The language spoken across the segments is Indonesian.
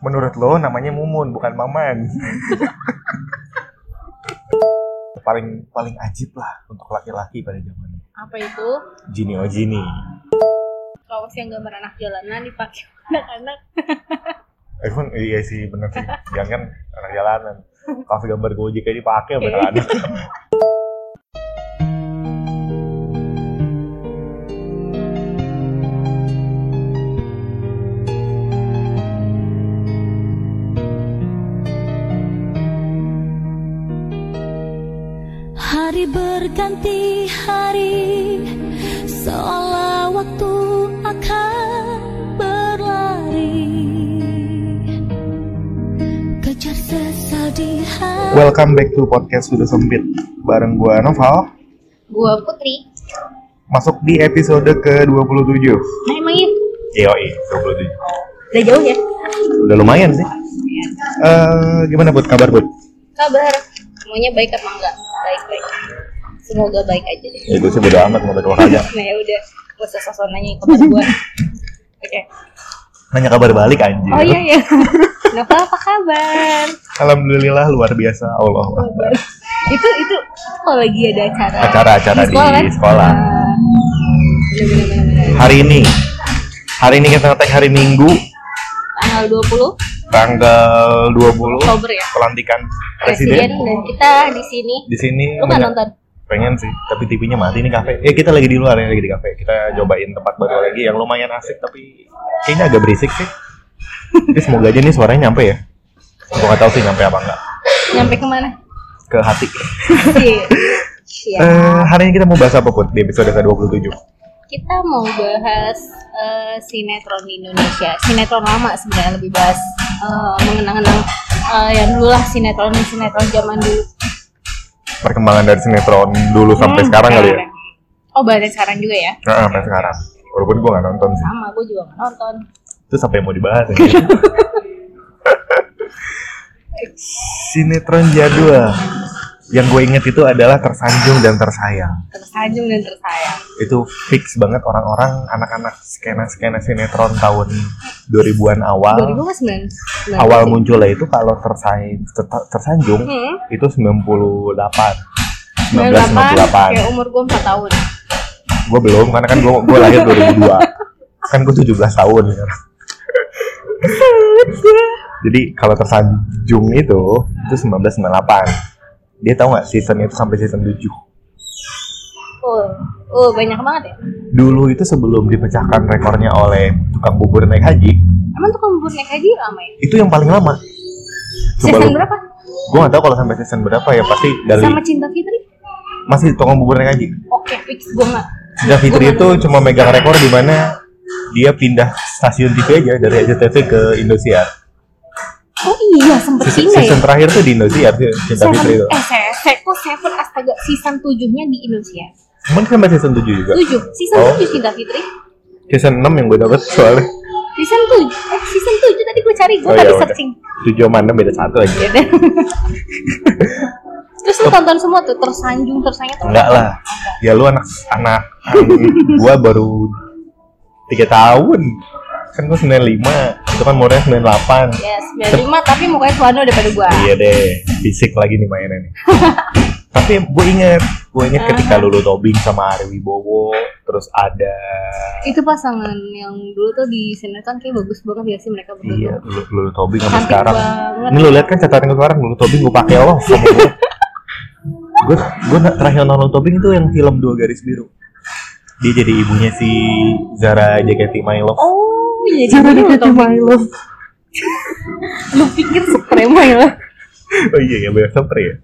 Menurut lo namanya Mumun bukan Maman. paling paling ajib lah untuk laki-laki pada zamannya. Apa itu? Jini oh Jini. Kaos yang gambar anak jalanan dipakai anak-anak. Eh pun iya sih bener sih. Jangan kan, anak jalanan. Kaos gambar Gojek aja dipakai sama anak. Hari berganti hari Seolah waktu akan berlari Kejar sesal di hati Welcome back to podcast sudah sempit bareng gua Noval. Gua Putri. Masuk di episode ke 27 Nah emang iya. Yoi, 27 Udah jauh ya? Udah lumayan sih Eh, Gimana Bud, kabar Bud? Kabar. Semuanya baik apa enggak? Baik-baik. Semoga baik aja deh. Ya gue sih bodo amat mau berdua aja Nah ya udah. Gua sosok nanya kabar gua. Oke. Nanya kabar balik anjir Oh iya ya. Kenapa apa kabar? Alhamdulillah luar biasa Allah Akbar. Itu itu kalau lagi ada acara. Acara-acara di sekolah, Ah, Bener-bener bener-bener. Hari ini Hari ini kita ngetek hari Minggu Tanggal 20 Tanggal 20 Oktober ya. Pelantikan Presiden Presiden dan kita di sini. Di sini Lu nggak banyak- nonton? pengen sih tapi TV-nya mati nih kafe eh kita lagi di luar ya lagi di kafe kita cobain tempat baru lagi yang lumayan asik tapi kayaknya agak berisik sih tapi semoga aja nih suaranya nyampe ya gue gak tahu sih nyampe apa enggak Nyampe kemana? ke hati Iya. Iya. Eh, hari ini kita mau bahas apa pun di episode ke 27 Kita mau bahas eh, sinetron di Indonesia. Sinetron lama sebenarnya lebih bahas eh, mengenang-enang eh, yang dulu lah sinetron sinetron zaman dulu. perkembangan dari sinetron dulu sampai Hmm, sekarang kali ya sekarang. Oh, bahasnya sekarang juga ya. Heeh, sampai sekarang walaupun gue gak nonton sih Sama, gue juga nggak nonton. terus apa yang mau dibahas ya? sinetron jadwal yang gue inget itu adalah tersanjung dan tersayang Tersanjung dan tersayang. itu fix banget orang-orang anak-anak skena-skena sinetron tahun 2000-an awal. 2009. Ah. Awal munculnya itu kalau tersaing ter- tersanjung Hmm. itu 98. 1998. 98, kayak umur gue 4 tahun. Gue belum karena kan gue gue lahir 2002. kan gue 17 tahun. Jadi kalau tersanjung itu itu 1998. Dia tahu nggak season itu sampai season 7. Oh, oh banyak banget ya. Dulu itu sebelum dipecahkan rekornya oleh tukang bubur naik haji, Emang tuh kamu naik haji lama ya? itu yang paling lama Coba Season lu- berapa? Gua gak tau kalau sampai season berapa ya pasti dari Sama Cinta Fitri? masih tukang bubur naik haji Oke, fix gue nggak. Cinta Iya, Fitri itu cuma megang rekor di mana dia pindah stasiun TV aja dari SCTV ke Indosiar Oh iya, sempet season, pindah ya. season terakhir tuh di Indosiar sih, Cinta Seven, Fitri itu ya? eh, se- se- kok Seven astaga season tujuhnya di Indonesia. cuman sampai season 7 juga Tujuh, season Oh. tujuh Cinta Fitri. season 6 yang gue dapet soalnya Season tujuh, eh season tujuh tadi gue cari gue Oh, tadi ya udah. searching. 7 sama 6 beda satu aja Ya deh. Terus lu tonton semua tuh tersanjung tersanjung tuh. enggak lah ya lu anak anak gue baru 3 tahun kan gue 95 itu kan umurnya 98 Ya, 95 tapi mukanya Suwano daripada gua. Iya deh, fisik lagi nih mainnya nih. Tapi gue inget, gue inget ketika Lulu Tobing sama Ari Wibowo, terus ada Itu pasangan yang dulu tuh di sinetron kayak bagus banget ya sih mereka berdua. iya Lulu, Lulu Tobing sama Cantik sekarang. banget. Ini lu lihat kan catatan gue sekarang Lulu Tobing gue pakai Allah sama gue. Gue gue terakhir nonton Lulu Tobing itu yang film dua garis biru. Dia jadi ibunya si Zara Jaketi Milo. Oh, iya jadi lu tau. Lu pikir suprema ya? Oh iya ya, banyak sepre ya.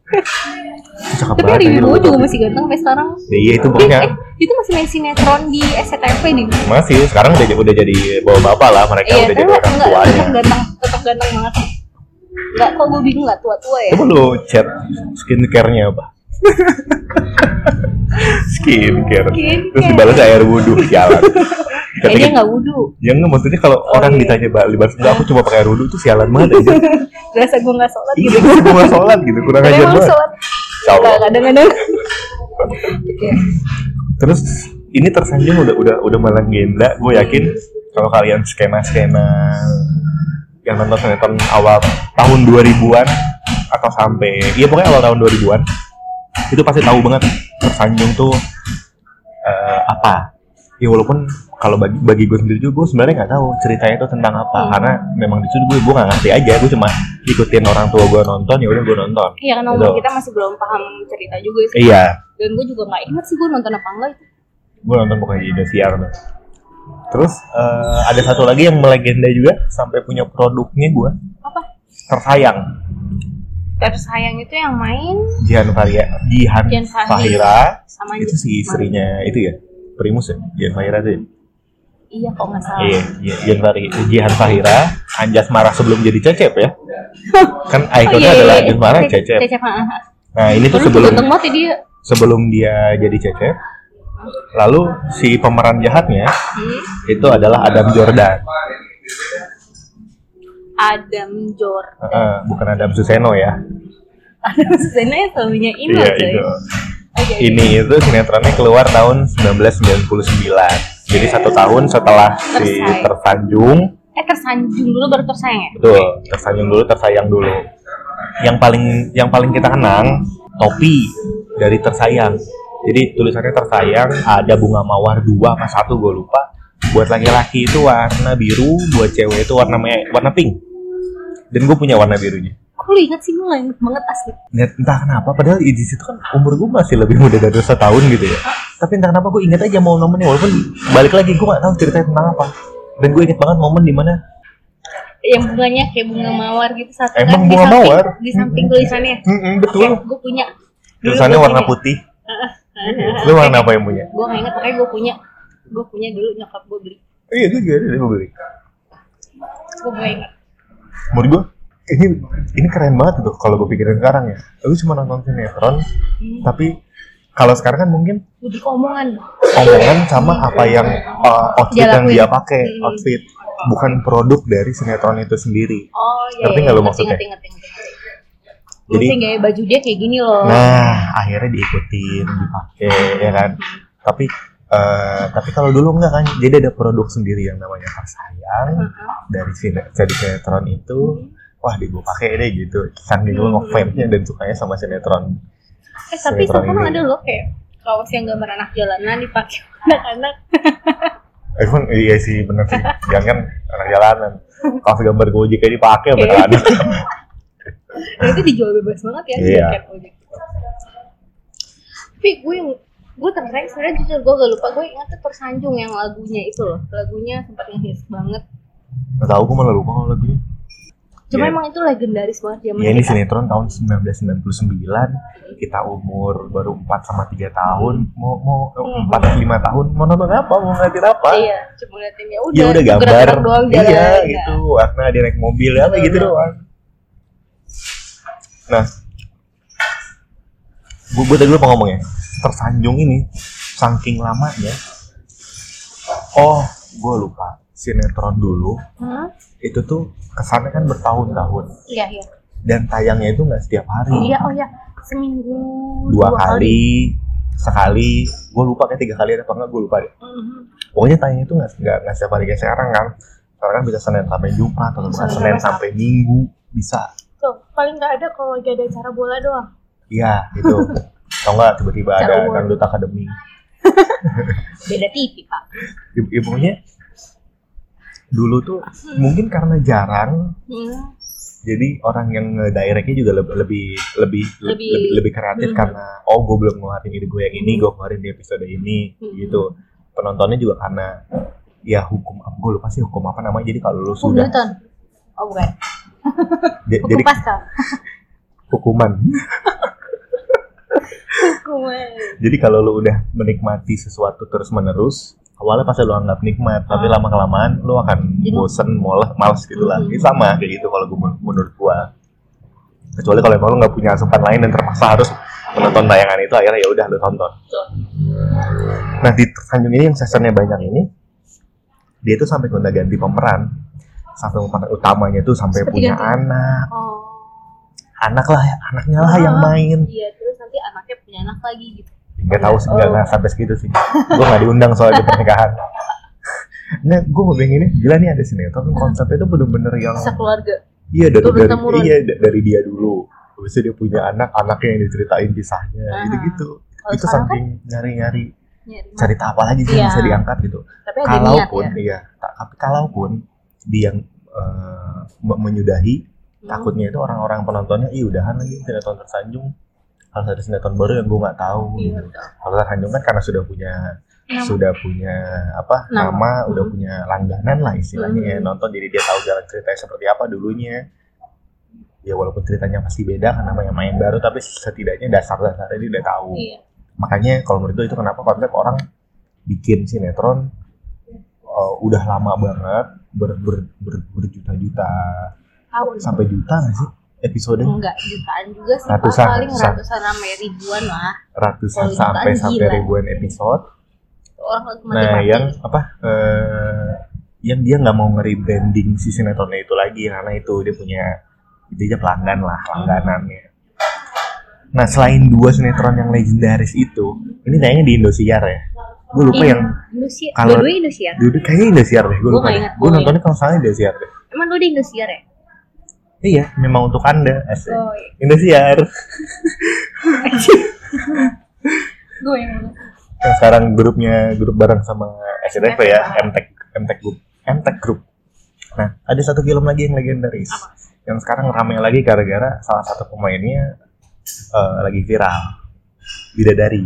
Itu Cakep Tapi banget. Ari anjir, Lulu Wibowo juga Tobing. masih ganteng sampai sekarang. Ya, iya itu Eh, pokoknya eh, itu masih main sinetron di SCTV nih. masih sekarang udah udah jadi bawa bapak lah mereka Iya, udah tapi jadi orang ya. enggak, tuanya tetap ganteng, tetap ganteng banget. Enggak, kok gue bingung enggak tua-tua ya? coba lu chat skincare-nya apa skincare Skincare. terus dibalas air wudhu jalan Eh, dia Katanya, enggak wudhu. ya enggak maksudnya kalau orang iya. ditanya balik balas enggak aku cuma pakai air wudhu tuh sialan banget aja Berasa gue enggak sholat iya gitu. sih gue nggak sholat gitu kurang Tapi ajar emang banget sholat. Insyaallah. Enggak, kadang-kadang. Oke. terus ini tersanjung udah udah udah malah legenda gue yakin kalau kalian skena skena yang kemarin nonton sinetron awal tahun 2000-an atau sampai iya pokoknya awal tahun 2000-an itu pasti tahu banget tersanjung tuh eh, apa ya walaupun kalau bagi bagi gue sendiri juga gue sebenarnya nggak tahu ceritanya itu tentang apa Hmm. karena memang di situ gue gue nggak ngerti aja gue cuma ikutin orang tua gue nonton ya udah gue nonton Iya kan Gitu. umur kita masih belum paham cerita juga sih. iya Dan gue juga nggak ingat sih gue nonton apa enggak itu. gue nonton pokoknya di Indosiar tuh. Terus eh, ada satu lagi yang melegenda juga sampai punya produknya gue Apa? tersayang Tersayang itu yang main Jihan Fahira Jihan Jihan Fahira. Fahira sama itu si istrinya itu ya Primus ya Jihan Fahira tuh ya? Iya kok nggak salah. iya Ji- Jihan Fahira Jihan Fahira Anjas Marah sebelum jadi Cecep ya kan Oh, ikonnya iya, iya, adalah iya. Anjas Marah Ce- Cecep Cecep, ah, ah. nah ini tuh Dulu tuh sebelum ganteng banget ya dia. sebelum dia jadi Cecep lalu si pemeran jahatnya Hmm. itu adalah Adam Jordan Adam Jor. Heeh, bukan Adam Suseno ya Adam Susena yang suaminya Ino Iya, coy. itu. Oke, oke. Ini itu sinetronnya keluar tahun 1999. Jadi satu tahun setelah si Tersayang. Tersanjung, Eh tersanjung dulu baru tersayang ya? betul, Tersanjung dulu, Tersayang dulu. Yang paling yang paling kita kenang topi dari Tersayang. Jadi tulisannya Tersayang, ada bunga mawar dua sama satu gue lupa. Buat laki-laki itu warna biru, buat cewek itu warna me- warna pink. Dan gue punya warna birunya. Kok lu inget sih lu nggak inget banget asli. Nggak- entah kenapa padahal di situ kan umur gue masih lebih muda dari setahun gitu ya tapi entah kenapa gue inget aja mau momennya walaupun balik lagi gue gak tahu ceritanya tentang apa dan gue inget banget momen dimana Yang bunganya kayak bunga mawar gitu satu Emang di bunga samping- mawar? Di samping tulisannya. mm Oke, gue punya. Dulu tulisannya gua warna punya. putih lu warna apa yang punya Gue nggak inget makanya gue punya. Gue punya dulu nyokap gue beli. iya itu juga ada gue beli Gue gak inget. menurut gue ini ini keren banget tuh kalau gue pikirin sekarang ya lu cuma nonton sinetron Hmm. tapi kalau sekarang kan mungkin Budi omongan. omongan sama apa yang uh, outfit Dia yang lakuin. dia pakai Mm. outfit bukan produk dari sinetron itu sendiri Oh iya. Ngerti iya, nggak lu ngerti, maksudnya? Ngerti ngerti ngerti. Jadi- Jadi gaya baju dia kayak gini loh. Nah, akhirnya diikutin, dipakai, ya kan. Tapi eh, tapi kalau dulu enggak kan, jadi ada produk sendiri yang namanya Hmm. Tersayang dari sine- dari sinetron itu. Wah, di gue pakai deh gitu. Kan gue ngefans-nya dan sukanya sama sinetron. Eh tapi Sinetron sekarang ini. ada loh kayak kaos yang gambar anak jalanan dipakai anak-anak. Eh, pun iya sih bener sih. Jangan anak jalanan. Kalau gambar Gojek aja dipakai Iya. beneran. Dan itu dijual bebas banget ya di Iya. jaket ojek. Tapi gue yang gue tertarik sebenarnya jujur gue gak lupa gue ingat tuh tersanjung yang lagunya itu loh lagunya sempat ngehits banget Nggak tahu gue malah lupa kalau lagunya. cuma Iya. emang itu legendaris banget zaman Ya ini kita sinetron tahun 1999 kita umur baru 4 sama 3 tahun mau mau eh, Hmm. 4 5 tahun mau nonton apa mau ngeliatin apa iya cuma ngeliatin ya udah ya udah gambar gerak-gerak doang Iya, jalan iya ya. gitu warna dia naik mobil apa Betul, gitu betul. doang nah gue gue tadi lupa ngomong ya tersanjung ini saking lamanya oh gue lupa sinetron dulu Hah? itu tuh kesannya kan bertahun-tahun iya iya dan tayangnya itu nggak setiap hari iya oh iya seminggu dua kali, sekali gue lupa kayak tiga kali ada apa enggak gue lupa deh Mhm. pokoknya tayangnya itu nggak nggak nggak setiap hari kayak sekarang kan sekarang kan bisa senin sampai jumat atau bukan Senin senin sampai sampai minggu bisa tuh paling nggak ada kalau lagi ada acara bola doang iya gitu atau enggak tiba-tiba Secara ada umum. dangdut akademi beda TV pak ya, ya pokoknya dulu tuh mungkin karena jarang Hmm. jadi orang yang directnya juga lebih lebih lebih Lebih- lebih, lebih kreatif Hmm. karena oh gue belum ngeluarin ide gue yang ini gue keluarin di episode ini Hmm. gitu penontonnya juga karena ya hukum gue lupa sih hukum apa namanya jadi kalau lu Hukum sudah Newton oh bukan j- hukum jadi Pascal hukuman hukum jadi kalau lu udah menikmati sesuatu terus menerus awalnya pasti lu anggap nikmat tapi Ah. lama kelamaan lu akan Jadi- bosen moles males gitu lah Hmm. Ini sama kayak gitu kalau gue menurut gue kecuali kalau emang lu nggak punya asupan lain dan terpaksa harus menonton tayangan itu akhirnya ya udah lu tonton Nah di Tanjung ini yang seasonnya banyak ini dia tuh sampai gonta ganti pemeran sampai pemeran utamanya tuh sampai Seperti punya ganti. anak Oh, anak lah anaknya lah yang Ah. main iya terus nanti anaknya punya anak lagi gitu. nggak tahu sih nggak Oh. nggak sampai segitu sih gue nggak diundang soal di pernikahan Nah, gue mau ini gila nih ada sinetron konsepnya tuh bener-bener yang sekeluarga iya dari, turun dari temurun. iya da- dari dia dulu. Habis itu dia punya anak, anaknya yang diceritain kisahnya Ah. gitu-gitu. Kalau itu sekarang kan saking nyari-nyari nyari cerita apa lagi sih yang Iya. bisa diangkat gitu. tapi ada niat Kalaupun ya iya, ta- tapi kalaupun dia yang eh, me- menyudahi Hmm. takutnya itu orang-orang penontonnya ih udahan lagi sinetron tersanjung harus ada sinetron baru yang gue nggak tahu Iya, gitu. betul. Kalau tersanjung kan karena sudah punya Nama. sudah punya apa Nama. nama udah Mhm. punya langganan lah istilahnya ya Mhm. nonton jadi dia tahu jalan ceritanya seperti apa dulunya ya walaupun ceritanya pasti beda karena banyak main baru tapi setidaknya dasar-dasarnya dia udah tahu iya makanya kalau menurut gue itu kenapa konsep orang bikin sinetron uh, udah lama banget ber- ber- ber- berjuta-juta tahun sampai juta nggak sih episode enggak jutaan juga sih Pak. Ratusan, paling ratusan. ratusan sampai ribuan lah ratusan Kalau jutaan sampai sampai gila. ribuan episode orang lagi nah mati-mati yang apa eh, yang dia nggak mau nge-rebranding si sinetronnya itu lagi karena itu dia punya itu aja pelanggan lah Hmm. langganannya nah selain dua sinetron yang legendaris itu ini kayaknya di Indosiar ya gue lupa yang Iya, Indosiar kalau- dua Indosiar Dulu kayaknya Indosiar deh, gue Gua lupa nggak deh. ingat, Gue gua nontonnya kalau salah Indosiar deh. emang dua Indosiar ya Iya, memang untuk anda. asik. oh iya. Indosiar. gue yang Yang sekarang grupnya grup bareng sama SCTV ya, MTech MTech Group. MTech Group. Nah, ada satu film lagi yang legendaris. Yang sekarang rame lagi gara-gara salah satu pemainnya eh, lagi viral. Bidadari.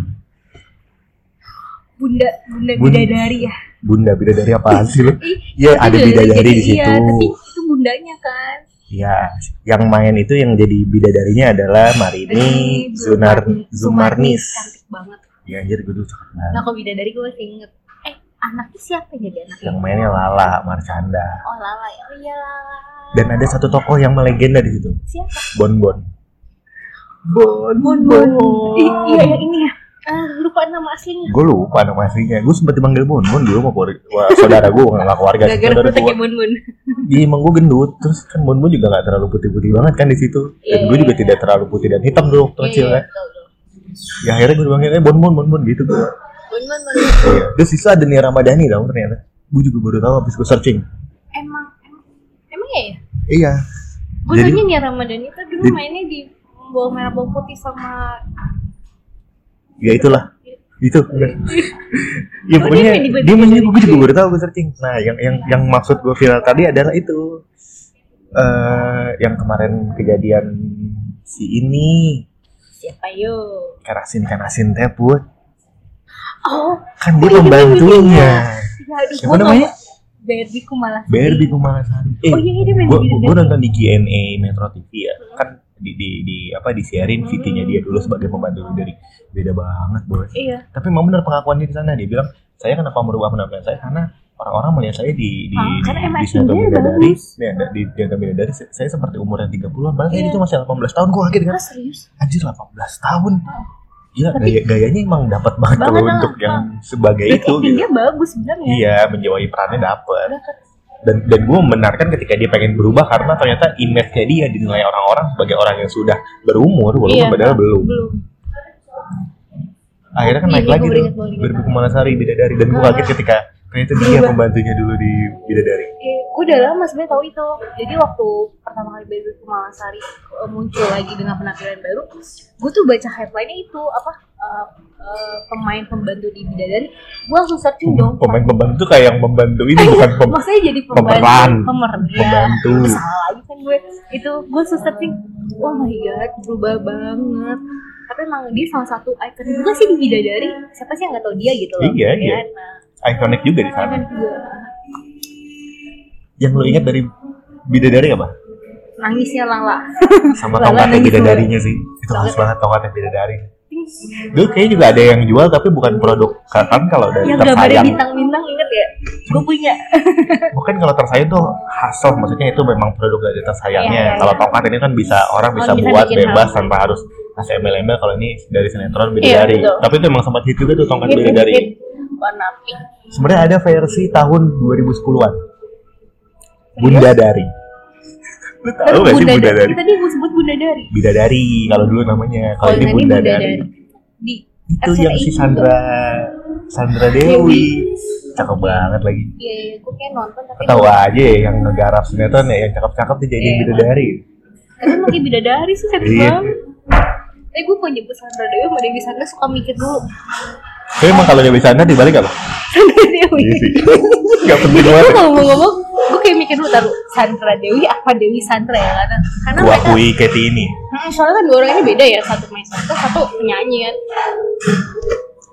bunda bunda Bun- bidadari ya Bunda Bidadari apa sih lu? Ih, Iya, itu ada bidadari di iya, tapi situ. itu bundanya kan Ya, yang main itu yang jadi bidadarinya adalah Marini Ini Zunar Zumarni- Zumarnis. cantik banget Ya anjir gue tuh cakep banget. nah kalau bidadari gue masih inget eh anaknya siapa yang jadi anaknya Yang mainnya Lala Marcanda. oh lala ya oh iya lala Dan ada satu tokoh yang melegenda di situ, siapa Bon Bon. Bon bon bon Ih, iya yang ini ya Ah, lupa nama aslinya Gue lupa nama aslinya. Gue sempat dipanggil Bon Bon dulu sama keluarga, wah, saudara gue nggak keluarga sih, gara-gara saudara kuteknya gue. bun bun Iya, emang gue gendut. Terus kan Bon Bon juga nggak terlalu putih-putih banget kan di situ. Dan Iya, gue iya, juga iya. tidak terlalu putih dan hitam dulu waktu kecil kan. Ya akhirnya gue dipanggil eh, Bon Bon Bon Bon gitu gue. bun bun bun Iya. Terus itu ada Nia Ramadhani tau ternyata. Gue juga baru tahu habis gue searching. emang emang- emang ya ya Iya. gue Jadi- nanya nih Ramadhani itu dulu Jadi- mainnya di bawang merah bawang putih sama Ya itulah. Itu. bener. ya Oh, pokoknya dia gitu ya? tiba-tiba dia menjadi gue juga jadi- baru tahu gue searching. Nah, yang yang yang maksud gue viral tadi adalah itu. eh yang kemarin kejadian si ini siapa yo kerasin kerasin teh Put. oh kan dia Oh, iya, pembantunya ya aduh Siapa gua namanya? tau. Barbie Kumala Berbi Kumalasari eh Oh, iya, iya, dia main gue di gue Bidadari. nonton di GNA Metro TV ya kan di di, di apa disiarin VT-nya dia dulu sebagai pembantu dari beda banget bos iya tapi memang benar pengakuannya di sana dia bilang saya kenapa merubah penampilan saya karena orang-orang melihat saya di di Ah, karena emang di sinetron actingnya bidadari bagus. ya, di di sinetron bidadari saya saya seperti umurnya 30-an padahal saya Iya. itu masih 18 tahun gua kaget kan Mas Ah, serius anjir 18 tahun Ah. Gila, Tapi- gaya, gayanya emang dapat banget kalau Banget lah, untuk Pak. yang sebagai Berarti itu Iya. gitu. actingnya bagus ya. sebenarnya Iya, menjawai perannya dapat. Dapet. Dan dan gue membenarkan ketika dia pengen berubah karena ternyata image-nya dia dinilai orang-orang sebagai orang yang sudah berumur walaupun Iya. padahal belum. belum Akhirnya kan Iya, naik iya, lagi gua tuh ingat, gua ingat. Berbi Kumalasari Bidadari dan gue Ah. kaget ketika ternyata dia Berubah. pembantunya dulu di Bidadari. Eh, gua udah lama sebenarnya tahu itu. Jadi waktu pertama kali Baby Kumalasari eh, muncul lagi dengan penampilan baru, gue tuh baca headline-nya itu apa eh, eh, pemain pembantu di Bidadari. Gue langsung searching Iya dong. Hmm, Iya, Pemain pembantu kayak yang membantu ini bukan pem Maksudnya jadi pemeran. pembantu, pemeran, ya. Pembantu. Salah lagi kan gue. Itu gue langsung searching. Oh my god, berubah banget. Tapi emang dia salah satu ikon juga sih di Bidadari. Siapa sih yang gak tahu dia gitu loh? Iya, Ya iya. kan? Nah, ikonik juga di sana. kan juga Yang lo ingat dari Bidadari apa? nangisnya Lala. Sama Lala tongkatnya nangis Bidadarinya sih. Itu khas Tongkat. banget tongkatnya Bidadari. Dulu kayaknya juga ada yang jual tapi bukan produk kan kalau dari yang gambarnya tersayang. bintang-bintang inget ya gue punya Bukan kalau tersayang tuh hasil maksudnya itu memang produk dari tersayangnya. Iya, iya, iya. Kalau tongkat ini kan bisa orang Oh, bisa bisa buat bikin bebas hal. tanpa harus kasih embel-embel kalau ini dari sinetron Bidadari. betul. Tapi itu emang sempat hit juga tuh tongkat Hit, hit, Bidadari. hit. warna pink Sebenarnya ada versi tahun 2010-an. Bunda Dari. Lu tahu gak sih Bunda Dari? Kan tadi gue sebut bunda dari Bidadari kalau dulu namanya. Kalau Kalau ini tadi Bunda Dari. di Itu RCTI yang si juga. Sandra Sandra Dewi. Dewi. cakep banget lagi Iya, iya, gue kayak nonton tapi tahu aja ya yang ngegarap sinetron ya yang cakep-cakep dijadiin Iya. bidadari Tapi lagi bidadari sih cantik Iya. banget. Tapi gue punya nyebut Sandra Dewi sama Dewi Sandra suka mikir dulu. tapi emang kalau dia bisa dibalik apa? Sandra Dewi. iya sih gak penting Gue banget ngomong-ngomong, gue kayak mikir dulu taruh Sandra Dewi apa Dewi Sandra ya karena karena gua mereka akui Katie ini Hmm, soalnya kan dua orang ini beda ya satu main satu satu penyanyi kan.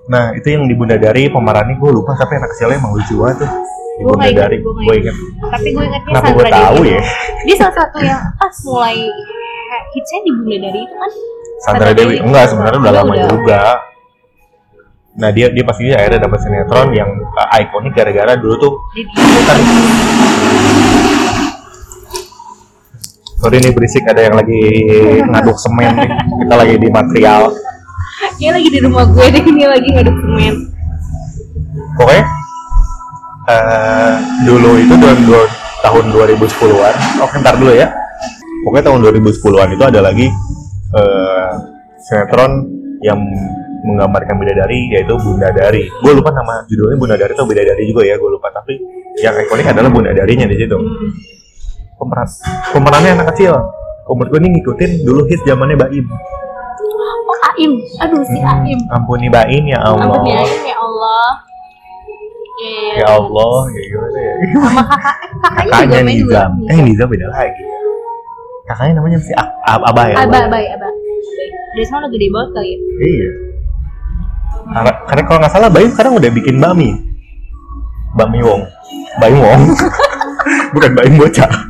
nah itu yang di Bundadari Pemerannya gue lupa tapi anak kecilnya emang lucu banget tuh di Gue nggak Bundadari inget, gue gue nggak inget inget. Tapi gue ingetnya Kenapa Sandra gue tahu Dewi. ya? Dia salah satu yang pas mulai eh, hitsnya di Bunda Dari itu kan. Sandra Dewi enggak sebenarnya udah lama udah. juga nah dia dia pastinya akhirnya dapat sinetron yang uh, ikonik gara-gara dulu tuh Jadi- kan sorry nih berisik ada yang lagi ngaduk semen nih kita lagi di material Dia lagi di rumah gue deh, dia lagi ngaduk semen. Oke. eh dulu itu tahun dua- tahun 2010-an. Oke, ntar dulu ya. Pokoknya tahun 2010-an itu ada lagi eh sinetron yang menggambarkan bidadari yaitu Bunda Dari. Gue lupa nama judulnya Bunda Dari atau Bidadari juga ya, gue lupa. Tapi yang ikonik adalah Bunda Darinya di situ. Hmm. Pemeran pemerannya anak kecil. Umur gue nih ngikutin dulu hits zamannya Baim. Oh Aim, aduh si Aim. Ampuni Baim Hmm. ya Allah. Ampuni Aim ya Allah. Ya, ya, Ya Allah, ya gimana ya? Sama kakak, eh, kakaknya juga kakaknya main dulu. Nizam. Eh Nizam beda lagi. Kakaknya namanya si Ab Ab Abah ya. Abah, abah, abah. Dari sana udah gede banget kali ya. Iya. Karena, karena kalau nggak salah Bayu sekarang udah bikin bami. Bami Wong. Bayu Wong. Bukan Bayu Bocah.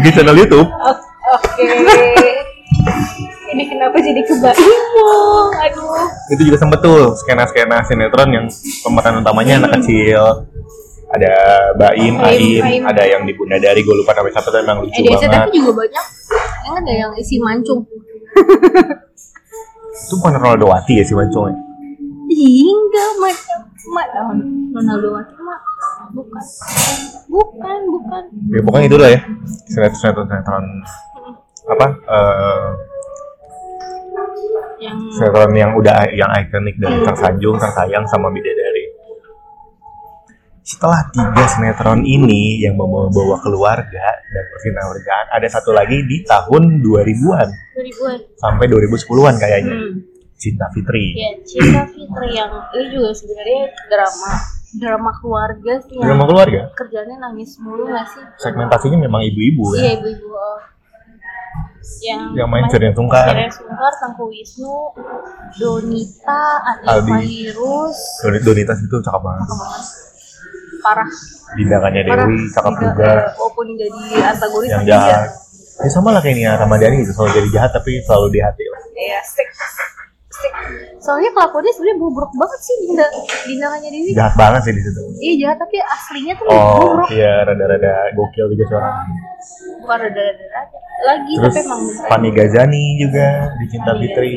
bikin channel YouTube. O- Oke. Ini kenapa jadi kebayang? Aduh. itu juga sempet tuh skena-skena sinetron yang pemeran utamanya anak kecil ada Baim, Aim, Baim, Aim. ada yang di Bunda Dari, gue lupa namanya siapa tuh emang lucu Eh, di banget. SCTV juga banyak. Yang ada yang isi mancung. Itu bukan Ronaldo Wati ya si Wancong ya? Hingga macam mak tahun Ronaldo Wati mak bukan bukan bukan ya pokoknya itu lah ya sinetron sinetron sinetron apa eh, yang sinetron yang udah yang ikonik dari sang sanjung sang sayang sama bidadari setelah tiga sinetron ini yang membawa-bawa keluarga dan percintaan ada satu lagi di tahun 2000-an 2000-an. sampai 2010-an kayaknya Hmm. Cinta Fitri Ya, Cinta Fitri yang ini juga sebenarnya drama drama keluarga sih yang drama keluarga kerjanya nangis mulu gak sih? segmentasinya memang ibu-ibu Iya ya ibu-ibu oh. yang, yang main Cerian Sungkar Ceren Sungkar, Tangku Wisnu, Donita, Aldi. Adi Virus, Doni- Donita itu cakep banget parah Dindakannya parah. Dewi cakep Tidak, juga eh, Walaupun jadi antagonis yang tapi jahat ya sama lah kayak Nia Ramadhani gitu selalu jadi jahat tapi selalu di hati lah dia- Iya, stick. Stick. Soalnya kelakuannya sebenarnya bobrok banget sih Dinda, Dinda hanya Dewi. jahat banget sih di situ Iya jahat tapi aslinya tuh oh bobrok. iya rada-rada gokil juga seorang Bukan rada-rada aja. Lagi terus Iya, tapi emang Iya. Fani Gazani juga di Cinta Fani Fitri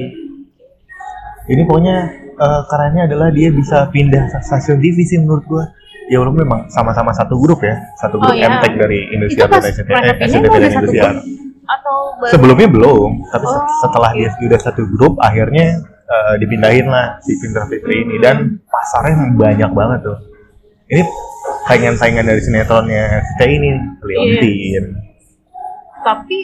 ini pokoknya eh, kerennya adalah dia bisa pindah sa- stasiun TV sih menurut gua ya walaupun memang sama-sama satu grup ya satu grup Oh, iya. MTech dari itu Indonesia pas dan SCTV mereka eh, pindah SCTV tuh dan udah satu Indonesia grup atau baru sebelumnya belum tapi se- Oh. setelah dia sudah satu grup akhirnya eh, dipindahin lah si Cinta Fitri ini dan pasarnya banyak banget tuh ini saingan-saingan dari sinetronnya kita ini Leontin tapi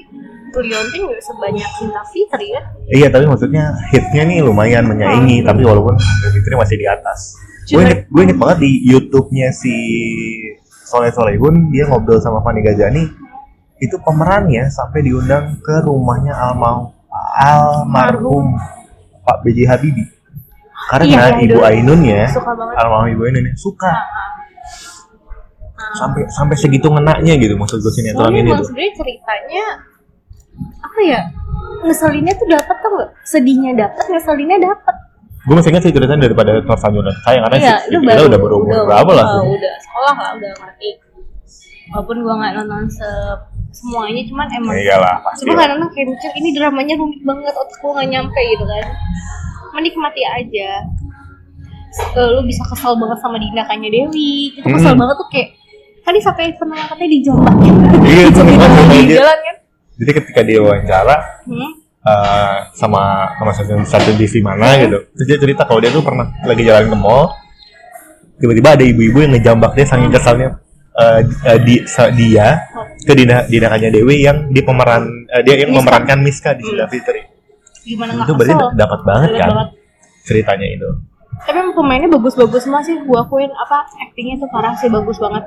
Liontin nggak sebanyak Cinta Fitri kan? iya tapi maksudnya hitnya nih lumayan menyaingi Oh. tapi walaupun Cinta Fitri masih di atas gue Cuman- inget, gue inget banget di YouTube-nya si Soleh Solehun dia ngobrol sama Fani Gazani itu pemerannya sampai diundang ke rumahnya almau almarhum Pak B.J. Habibie karena Iya, yang ibu dulu. Ainun ya Suka banget. Ah, almarhum ibu Ainun ya suka sampai sampai segitu ngenaknya gitu maksud gue sinetron Soalnya ini emang tuh sebenarnya ceritanya apa ya? Ngeselinnya tuh dapat tuh nggak? Sedihnya dapat, ngeselinnya dapat. gue masih ingat sih ceritanya daripada Torsanjuna sayang karena Iya, sih, lu kita baru- udah berumur berapa lah uh, udah sekolah lah, udah ngerti. Walaupun gua nggak nonton se- semuanya, cuman emang Ya iyalah, pasti Cuma lah. kadang kayak mikir ini dramanya rumit banget, otak gua nggak nyampe gitu kan. Menikmati aja. Eh, lu bisa kesel banget sama tindakannya Dewi. Itu kesel Hmm. banget tuh kayak tadi sampai pernah katanya dijambakin. Iya, itu Dijambakin nikmat di aja. jalan kan. jadi ketika dia wawancara Hmm. eh, sama sama satu satu divisi mana gitu terus dia cerita kalau dia tuh pernah lagi jalan ke mall tiba-tiba ada ibu-ibu yang ngejambak dia saking kesalnya eh, eh, di, sa- dia ke dina, dinakannya Dewi yang di pemeran eh, dia yang Miska. memerankan Miska di Sila Fitri Gimana nggak itu berarti kesel? da- dapat banget Dapat kan banget. ceritanya itu Tapi emang pemainnya bagus-bagus semua sih. Gua akuin apa actingnya tuh parah sih bagus banget.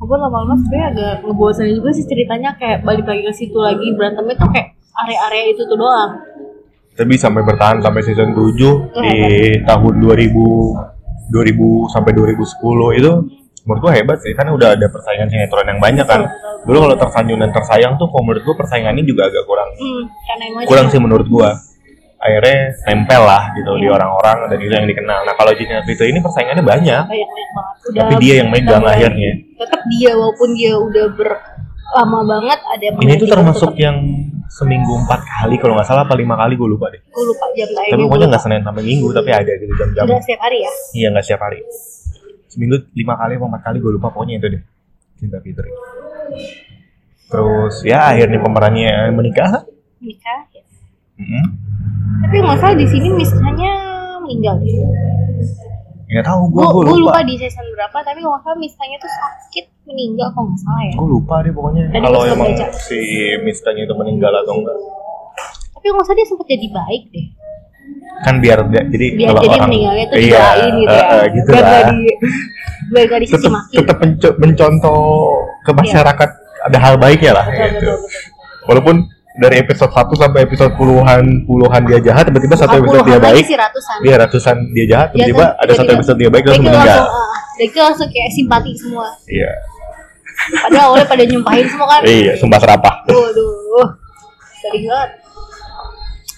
Gue lama-lama sebenernya agak ngebosanin juga sih ceritanya kayak balik lagi ke situ lagi berantemnya tuh kayak area-area itu tuh doang. tapi sampai bertahan sampai season 7 Iya, di tahun 2000 2000 sampai 2010 itu menurut gua hebat sih karena udah ada persaingan sinetron yang banyak kan Iya, dulu kalau tersanjung dan tersayang tuh kalau menurut gua persaingannya juga agak kurang Hmm, karena emang kurang sih menurut gua akhirnya nempel lah gitu Iya. di orang-orang dan itu yang dikenal nah kalau Jin itu ini persaingannya banyak banyak banyak banget. Udah tapi dia yang megang udah- akhirnya Tetap dia walaupun dia udah ber- lama banget ada ini yang tuh menggantikan, termasuk ya. tetep- yang seminggu empat kali kalau nggak salah apa lima kali gua lupa deh gua lupa jam tayangnya. tapi gua pokoknya nggak lupa. senin sampai minggu tapi ada gitu jam-jam gitu. Udah setiap hari ya. Iya nggak setiap hari. Seminggu lima kali apa empat kali gue lupa pokoknya itu deh. Cinta Fitri. Terus ya akhirnya pemerannya menikah. Nikah. ya. Mm-mm. Tapi nggak salah di sini misalnya meninggal. Nggak tahu gue Gue gue lupa. lupa. di season berapa, tapi kalau nggak salah misalnya tuh sakit meninggal kalau nggak salah ya. Gue lupa deh pokoknya Tadi kalau gua suka emang baca. si Mistanya itu meninggal atau enggak. Tapi nggak salah dia sempat jadi baik deh. Kan biar dia- jadi Biar kalau jadi orang meninggalnya tuh iya, didoain gitu ya. eh, eh, gitu biar lah. nggak di biar nggak dicaci Tetap maki. tetap menco- mencontoh ke masyarakat ada hal baiknya lah Iya. Betul, gitu. betul, betul. Walaupun dari episode 1 sampai episode puluhan puluhan dia jahat tiba-tiba satu Bukan episode dia puluhan lagi baik sih, ratusan. dia Iya, ratusan dia jahat Iya, tiba-tiba kan? ada satu Tiba-tiba. episode dia baik Dia langsung meninggal langsung, ah, dia itu langsung kayak simpati semua. iya Padahal awalnya pada nyumpahin semua kan. iya sumpah serapah Waduh. Sedih banget.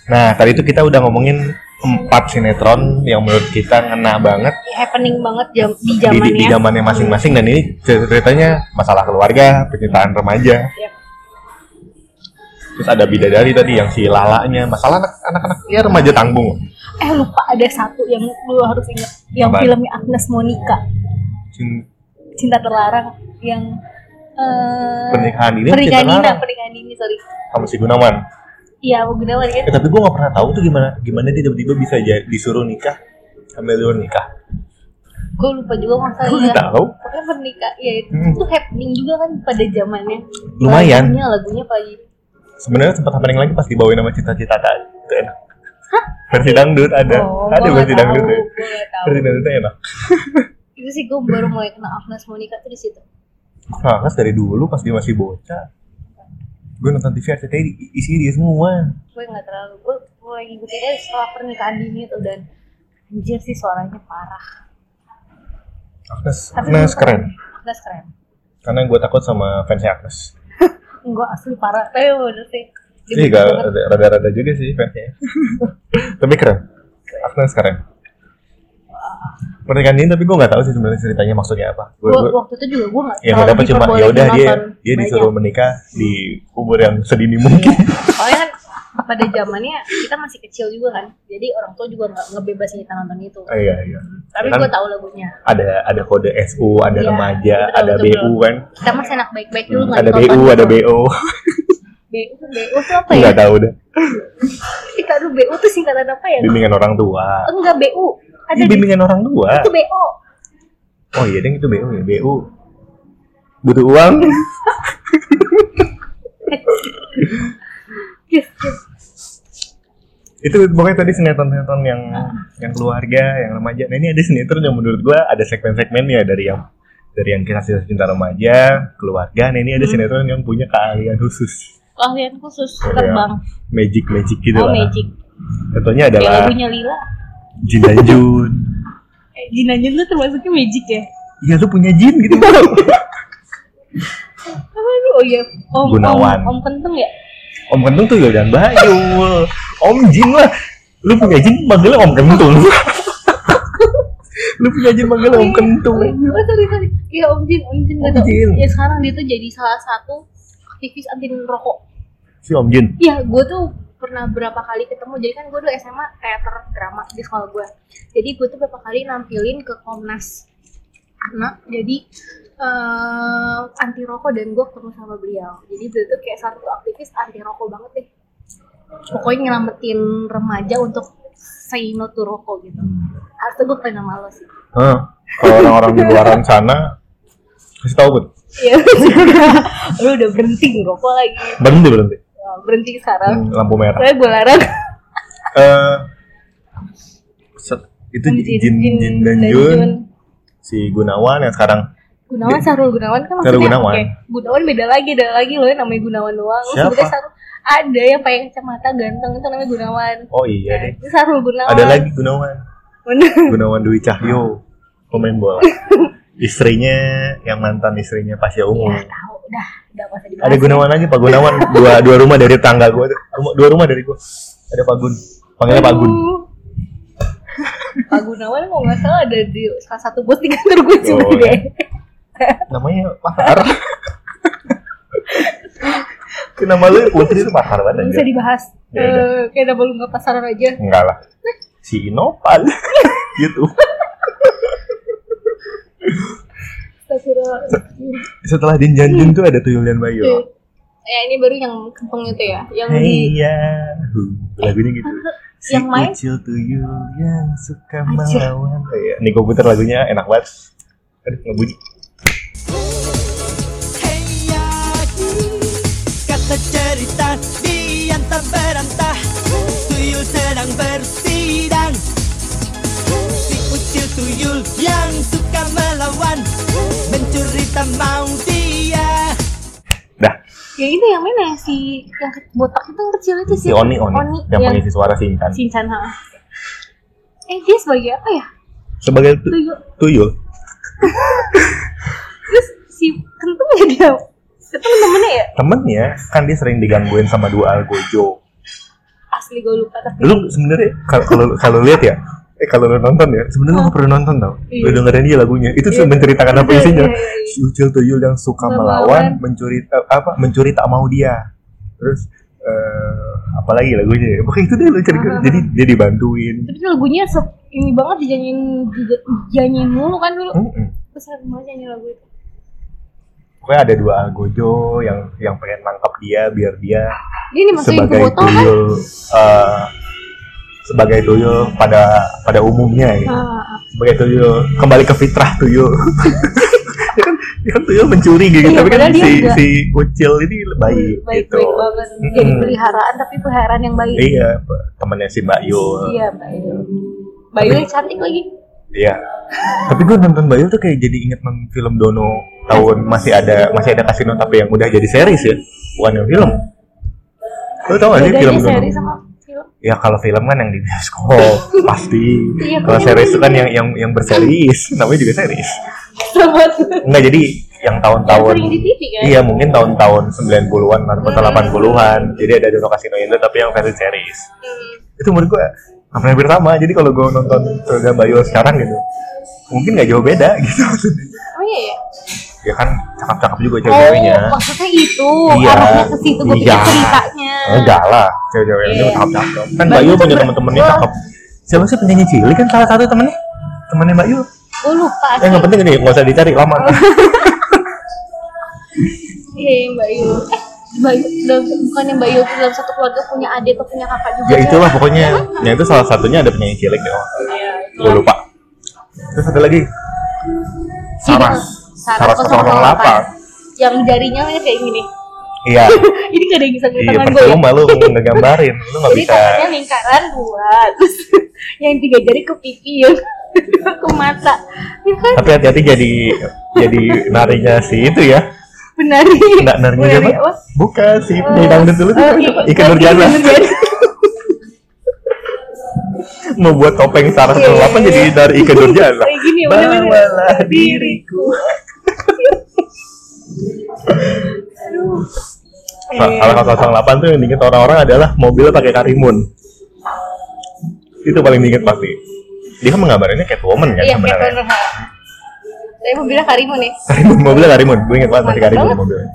nah tadi itu kita udah ngomongin empat sinetron yang menurut kita ngena banget Happening banget jam, di di- zamannya. di, di zamannya masing-masing dan ini ceritanya masalah keluarga penyitaan remaja Iya. terus ada bidadari tadi yang si lalanya masalah anak- anak-anaknya remaja tanggung Eh lupa ada satu yang lu harus ingat yang Apaan? filmnya Agnes Monica Cin- Cinta Terlarang yang eh pernikahan ini pernikahan Cinta Nina Larang pernikahan ini sorry sama si Gunawan iya mau gunawan kan Eh, tapi gue gak pernah tahu tuh gimana gimana dia tiba-tiba bisa ja- disuruh nikah sambil luar nikah gue lupa juga masa gue iya gak tahu pokoknya pernikahan ya itu Hmm. tuh happening juga kan pada zamannya Lumayan. lagunya lagunya pagi sebenarnya sempat happening lagi pas dibawain sama cita-cita tak itu enak versi dangdut ada ada versi dangdut ya. gue gak Oh, tahu versi dangdutnya enak itu sih gue baru mulai kenal Agnes Monica tuh di situ Kakak dari dulu pas dia masih bocah gue nonton TV RCTI di- isinya dia semua gue nggak terlalu gue mulai ngikutin aja setelah pernikahan dini itu dan anjir sih suaranya parah Agnes Tapi Agnes lu- keren Agnes keren karena gue takut sama fansnya Agnes enggak asli parah tapi emang bener sih Dia sih Iya, bagus gak banget. rada-rada juga sih fansnya tapi keren Agnes keren pernikahan ini tapi gue gak tahu sih sebenarnya ceritanya maksudnya apa Gua- Gua, gua- waktu itu juga gue nggak yang gue dapat cuma ya udah dia dia disuruh disuruh menikah di umur yang sedini mungkin soalnya kan pada zamannya kita masih kecil juga kan jadi orang tua juga nggak ngebebasin kita nonton itu Ah, iya iya tapi Kan gue tahu lagunya ada ada kode SU ada Iya, remaja betul, ada betul, BU kan kita masih enak baik-baik dulu nggak Hmm, ada ditonton BU ada gitu. BO BU tuh BU tuh apa ya nggak tahu deh kita dulu BU tuh singkatan apa ya bimbingan orang tua enggak BU ada Ini di bimbingan orang tua itu BO oh iya deh itu BU ya BU butuh uang yes, yes. itu pokoknya tadi sinetron-sinetron yang yang keluarga yang remaja nah ini ada sinetron yang menurut gua ada segmen-segmennya dari yang dari yang kisah-kisah cinta remaja keluarga nah ini ada Hmm. sinetron yang punya keahlian khusus keahlian khusus Iya. terbang magic magic gitu oh lah magic Contohnya ya adalah lagunya Lila Jin dan Jun. eh, Jin Anjun tuh termasuknya magic ya Iya lu punya Jin gitu. Aduh, oh iya om Gunawan. om, om kentung ya Om Kentung tuh Yodan Bayul. Om Jin lah. Lu punya Jin manggilnya Om Kentung. lu punya Jin manggilnya Om Kentung. Oh, sorry, sorry. Iya, Om Jin, Om Jin. Om gak tau. Jin. Ya, sekarang dia tuh jadi salah satu aktivis anti rokok. Si Om Jin. Iya, gue tuh pernah berapa kali ketemu. Jadi kan gue dulu SMA teater drama di sekolah gue. Jadi gue tuh berapa kali nampilin ke Komnas anak. Jadi eh, anti rokok dan gue ketemu sama beliau. Jadi beliau tuh kayak satu aktivis anti rokok banget deh. Pokoknya nyelamatin remaja untuk say no to rokok gitu. Harusnya gue pengen sama lo sih. Hah. Kalau orang-orang di luaran sana kasih tahu bud, ya lu udah berhenti ngerokok lagi berhenti berhenti. Wah, berhenti sekarang Hmm, lampu merah. saya gue larang Eh, set- itu Jin- Jin, Jin, dan Jun, si Gunawan yang sekarang Gunawan Sarul Gunawan kan Sahrul maksudnya Gunawan. oke, Gunawan beda lagi ada lagi loh yang namanya Gunawan doang Lu Siapa? sebutnya Sarul ada yang pakai kacamata ganteng itu namanya Gunawan oh iya deh Itu Sarul Gunawan ada lagi Gunawan Bener. Gunawan Dwi Cahyo pemain bola istrinya yang mantan istrinya Pasya Ungu Nggak tahu dah udah nggak usah dibahas ada Gunawan lagi Pak Gunawan dua dua rumah dari tangga gue dua rumah dari gue ada Pak Gun panggilnya Pak Gun Aduh. Pak Gunawan kalau nggak salah ada di salah satu booth di kantor gue juga Oh, deh. namanya Mahar Ke nama lu putri itu Mahar banget Bisa aja dibahas. Ya udah. Eh, kayak double lu nggak pasaran aja. enggak lah si Inopal gitu Saya kira. setelah Jinjanjin tuh ada Tuyulian Bayu Ya ini baru yang kentong itu ya, yang di Iya. Hey ya lagunya gitu Si Yang main? kecil tuyul yang suka Anjir. melawan. Oh, iya. Niko puter lagunya enak banget. Aduh, ngebunyi. Kata cerita diantar berantah Tuyul sedang bersidang Si ucil tuyul yang suka melawan Mencuri tak mau dia Dah, ya itu yang mana ya, si yang ke- botak itu yang kecil itu si sih. Oni Oni, yang yang mengisi suara Sinchan. Sinchan ha. Eh dia sebagai apa ya? Sebagai tu- Tuyul. tuyul. Terus si kentung ya dia. Kentung temennya ya? Temennya kan dia sering digangguin sama dua algojo. Asli gue lupa tapi. Lu sebenarnya kal- kalau kalau lihat ya, eh kalau lu nonton ya, sebenarnya lu nggak perlu nonton tau. Iya. Lu dengerin dia lagunya, itu Iya. menceritakan apa Iya, isinya. iya, iya. Si ucil tuyul yang suka Suka melawan, melawan. mencuri eh, apa? Mencuri tak mau dia. Terus eh apalagi lagunya ya? Pokoknya itu deh lu cerita. Aha. Jadi dia dibantuin. Tapi tuh lagunya se- ini banget dijanjiin dija- dijanjiin mulu kan dulu. Mm-mm. Terus aku mau nyanyi lagu itu. Pokoknya ada dua algojo yang yang pengen nangkap dia biar dia Dia dimasukin ke sebagai botol kan? tuyul eh, sebagai tuyul pada pada umumnya ya. Ah, Sebagai tuyul kembali ke fitrah tuyul. ya kan, ya kan tuyul mencuri gitu, Iya, tapi kan padahal dia si enggak. si ucil ini baik, baik gitu. baik banget. Jadi peliharaan tapi peliharaan yang baik. Iya, pe- temannya si Bayu. Iya, Bayu. Bayu yang cantik lagi. Iya. Tapi gue nonton Bayu tuh kayak jadi inget nonton film Dono tahun masih ada masih ada kasino tapi yang udah jadi series ya, bukan yang film. Lo tau gak sih film Bedanya Dono? seri sama film. Ya kalau film kan yang di bioskop pasti. Iya, kalau kan series yang- itu kan yang yang yang berseries, namanya juga series. Sama Enggak jadi yang tahun-tahun sering di TV kan? Hmm. Iya, mungkin tahun-tahun 90-an atau 80-an. Jadi ada Dono Kasino Indo tapi yang versi series. Hmm. Itu menurut gue hampir hampir sama. Jadi kalau gue nonton Surga Bayu sekarang gitu, mungkin nggak jauh beda gitu. Oh iya ya. ya kan cakep-cakep juga cewek-ceweknya. Oh, maksudnya itu Iya. arahnya ke situ gue pikir Iya. ceritanya. Enggak lah, cewek-ceweknya Iya. cakep-cakep. Kan Bayu Bayu tuh punya ber- temen-temennya Wah. cakep. Siapa sih penyanyi cilik kan salah satu temennya? Temennya Bayu. Gue lupa. Eh nggak penting nih, nggak usah dicari lama. Iya, yang Mbak Yul. Eh, Mbak Yul, dalam, bukan yang Mbak Yul tuh dalam satu keluarga punya adik atau punya kakak juga. ya itulah pokoknya. Ya itu salah satunya ada penyanyi cilik deh. Iya, Gue lupa. Terus ada lagi Gitu. Saras. Saras 008. Yang jarinya kayak gini. Iya, Ini gak ada yang bisa ngeliat iya tangan gue ya. percuma lu ngegambarin, lu nggak Jadi bisa. tangannya lingkaran dua, terus yang tiga jari ke pipi, yang kedua ke mata. Ya kan? Tapi hati-hati jadi jadi narinya si itu ya. Menari. Enggak narinya Menari siapa? apa? Bukan si Eh, penyanyi dangdut dulu tuh eh, siapa i- itu, Pak? Ika Nurjana. Ika Nurjana. Mau buat topeng Saras 08 Iya, iya, jadi iya. dari Ika Nurjana. Kayak gini, bener-bener. Bawalah diriku. Aduh. Eh, Salah 008 tuh yang diinget orang-orang adalah mobil pakai karimun. Itu paling diinget pasti. Dia kan menggambarinnya Catwoman kan Iya, kayak sebenarnya. bener. Tapi mobilnya Karimun nih. Karimun mobilnya Karimun. Gue inget banget masih Mantap Karimun banget. mobilnya.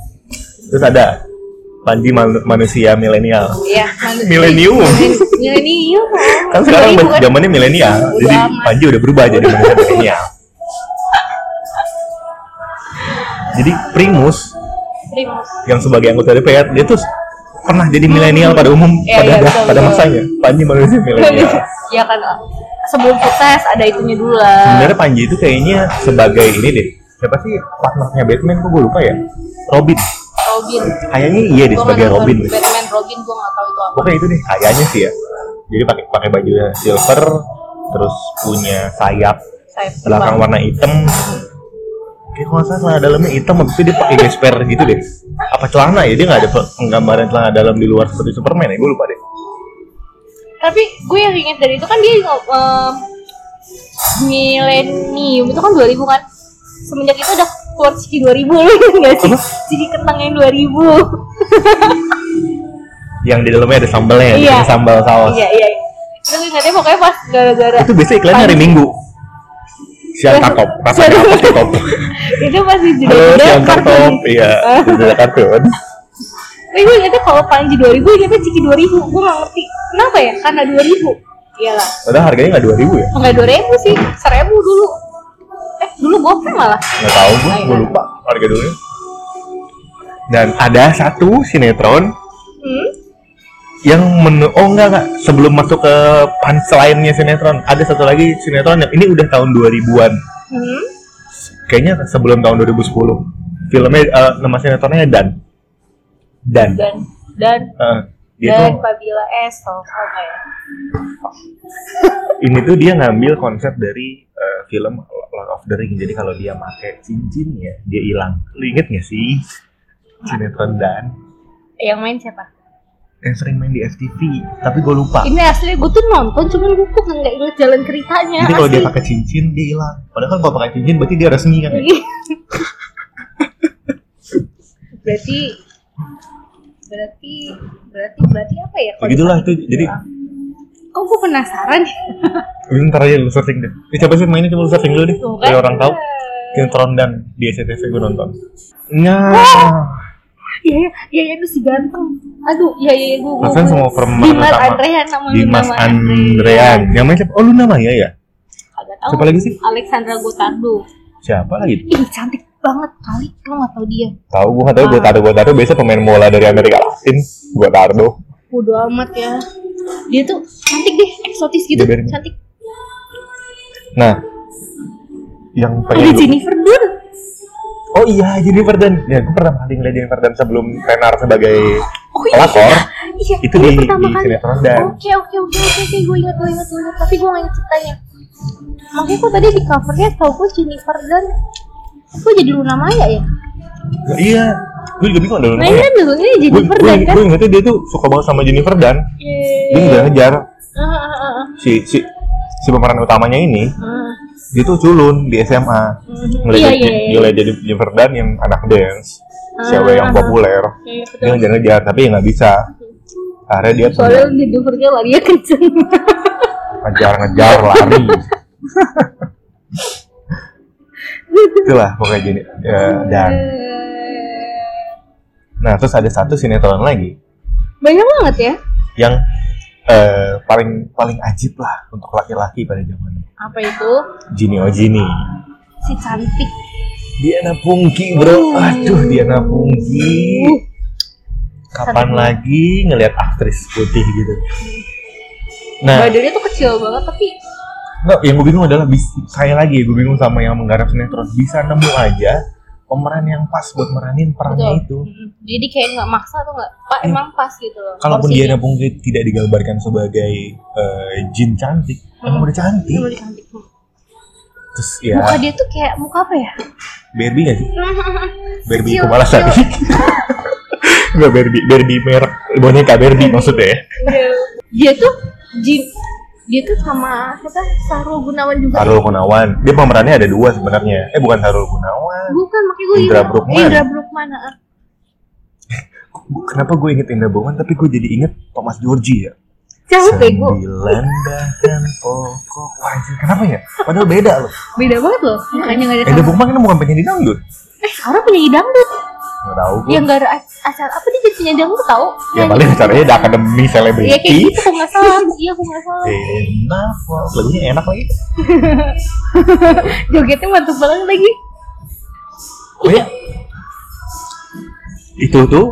Terus ada Panji Man- manusia milenial. Iya, manusia. Milenium. Milenium. Kan sekarang Jadi bukan- zamannya milenial. Udah Jadi amat. Panji udah berubah jadi manusia milenial. Jadi Primus Primus. yang sebagai anggota DPR dia tuh pernah jadi milenial pada umum Iya, pada iya, ada- betul, pada betul. masanya Panji manusia milenial. Iya kan. sebelum sukses ada itunya dulu lah. Sebenarnya Panji itu kayaknya sebagai ini deh. Siapa sih partnernya Batman? Kok gue lupa ya. Robin. Robin. Kayaknya iya deh Gua sebagai nggak nonton Robin. deh. Batman Robin gue nggak tahu itu apa. Pokoknya itu deh kayaknya sih ya. Jadi pakai pakai baju silver, terus punya sayap Saya belakang warna hitam. Kayak kalau nggak salah celana dalamnya hitam, habis itu dia pakai gesper gitu deh. Apa celana ya? Dia nggak ada pe- penggambaran celana dalam di luar seperti Superman ya? Gue lupa deh. Tapi gue yang ingat dari itu kan dia eh, milenium itu kan 2000 kan. Semenjak itu udah keluar Ciki 2000 lu ingat nggak sih? Apa? Ciki Kentang yang 2000. Yang di dalamnya ada sambalnya, Iya. ada sambal saus. Iya iya. Itu gue ingatnya pokoknya pas gara-gara Oh. Itu biasanya iklannya hari Minggu. Iya. Siang kakop, rasa kakop, kakop. itu masih Halo, jeda-jeda siang kakop, kartun. iya, sudah kartun. Eh, Tapi gue ingetnya kalau Panji 2000 ingetnya Ciki 2000 Gue gak ngerti Kenapa ya? Karena Iya 2000 Iyalah Padahal harganya nggak dua ribu ya? Enggak 2000 sih 1000 dulu Eh dulu gopeng malah Nggak tahu gue, gue lupa harga dulunya. Dan ada satu sinetron hmm? yang menu oh enggak enggak sebelum masuk ke punchline-nya sinetron ada satu lagi sinetron yang ini udah tahun 2000-an Hmm? kayaknya sebelum tahun 2010 filmnya eh, nama sinetronnya Dan Dan, Dan Dan Eh, dia tuh dan Fabila S kalau nggak salah ya. ini tuh dia ngambil konsep dari eh, film Lord of the Ring jadi kalau dia pakai cincinnya dia hilang lu inget gak sih sinetron Dan Yang main siapa? yang sering main di FTV tapi gue lupa Ini asli gue tuh nonton cuman gue kok nggak inget jalan ceritanya jadi kalau asli. dia pakai cincin dia hilang padahal kan kalau pakai cincin berarti dia resmi kan ya? Iya. berarti berarti berarti berarti apa ya? kalau Begitulah dipakai itu, jadi- gitu, ah? Kok gue penasaran Ini ntar aja lu searching deh. Ini siapa sih mainnya coba lu searching dulu deh. Tuh kan. Biar orang tahu. Sinetron dan di SCTV gue nonton. Nah, Oh! Iya, iya, iya, itu si ganteng. Aduh, iya, iya, gue gue. Rasanya sama perempuan Dimas sama- Andrean sama Dimas Andrean. Yang main siapa? Oh, Luna Maya ya? Agak tahu. Siapa lagi sih? Alexandra Gotardo. Siapa lagi? Ih, cantik banget kali. Lo gak tau dia. Tahu gue nggak tahu. Ah. Gue taruh gue taruh. Biasa pemain bola dari Amerika Latin. Gue taruh. Bodo amat ya. Dia tuh cantik deh, eksotis gitu. Dia biarin. Cantik. Nah, yang Ada pengen lu- Jennifer Dunn. Oh iya, Jennifer Dunn. Ya, gue pertama kali ngeliat Jennifer Dunn sebelum tenar sebagai Oh pelakor. Iya, Itu dia di- pertama di kali. Oh. sinetron dan- Oke, oke, oke, oke, oke, gue ingat, gue ingat, gue ingat. Tapi gue gak ingat ceritanya. Makanya kok tadi di covernya tau gue Jennifer Dunn. Kok jadi Luna Maya ya? Nah, iya, gue juga bingung ada Luna Nah, ini Maya. kan dulunya Gue Jennifer gue Dunn kan? gue ingetnya dia tuh suka banget sama Jennifer Dunn. Dia Iya. ngejar-ngejar Ah, ah, ah, ah. si si si pemeran utamanya ini Ah. dia tuh culun di SMA Mhm. ngeliat Iya, dia, iya, iya. dia liat jadi Jennifer Dunn yang anak dance cewek yang Ah. populer Iya, dia betul. ngejar-ngejar tapi ya nggak bisa akhirnya dia Soalnya di Denvernya larinya kenceng. ngejar-ngejar lari itulah pokoknya jadi ya, dan nah terus ada satu sinetron lagi Banyak banget ya. yang eh, paling paling ajib lah untuk laki-laki pada zamannya Apa itu? Gini oh Gini Si cantik. Diana Pungki bro, Hmm. aduh Diana Pungki. Kapan Sangat. lagi ngelihat aktris putih gitu? Nah, Badannya tuh kecil banget tapi nggak, yang gue bingung adalah bis- saya lagi ya gue bingung sama yang menggarap sinetron bisa nemu aja pemeran yang pas buat meranin perannya itu. betul. gitu. Mm-mm. Jadi kayak nggak maksa tuh nggak. Pak Iya. emang pas gitu loh. Kalaupun porsinya. Diana Pungki tidak digambarkan sebagai eh, jin cantik, emang Hmm. udah cantik. Cuma dia cantik. Terus ya, Muka dia tuh kayak muka apa ya? Barbie nggak sih? Barbie Kecil, kemalasan. kecil. Nggak Barbie, Barbie merek boneka Barbie maksudnya ya. Iya. Dia tuh jin dia tuh sama siapa? Sahrul Gunawan juga. Harul Gunawan. Dia pemerannya ada dua sebenarnya. Eh bukan Harul Gunawan. Bukan, makanya gue Indra ingat. Bruggman. Indra Bruggman. ah. Gua- Kenapa gue inget Indra Bowen tapi gue jadi inget Thomas Georgie ya. Jauh bego. Sembilan bahan pokok. Wah, anjir, kenapa ya? Padahal beda loh. Beda banget loh. Makanya nggak ada Iya. Indra sama. Bowen kan bukan penyanyi dangdut. Eh, Sarah penyanyi dangdut. Nggak tahu gue. Yang nggak ada ac- acara apa dia jadi penyanyi dangdut tahu? Ya paling acaranya ada akademi Iya kayak selebriti. gitu, kok nggak salah. Iya, kok nggak salah. Enough. Wow. Lagunya enak lagi. Jogetnya mantep banget lagi. iya. Oh ya. Itu tuh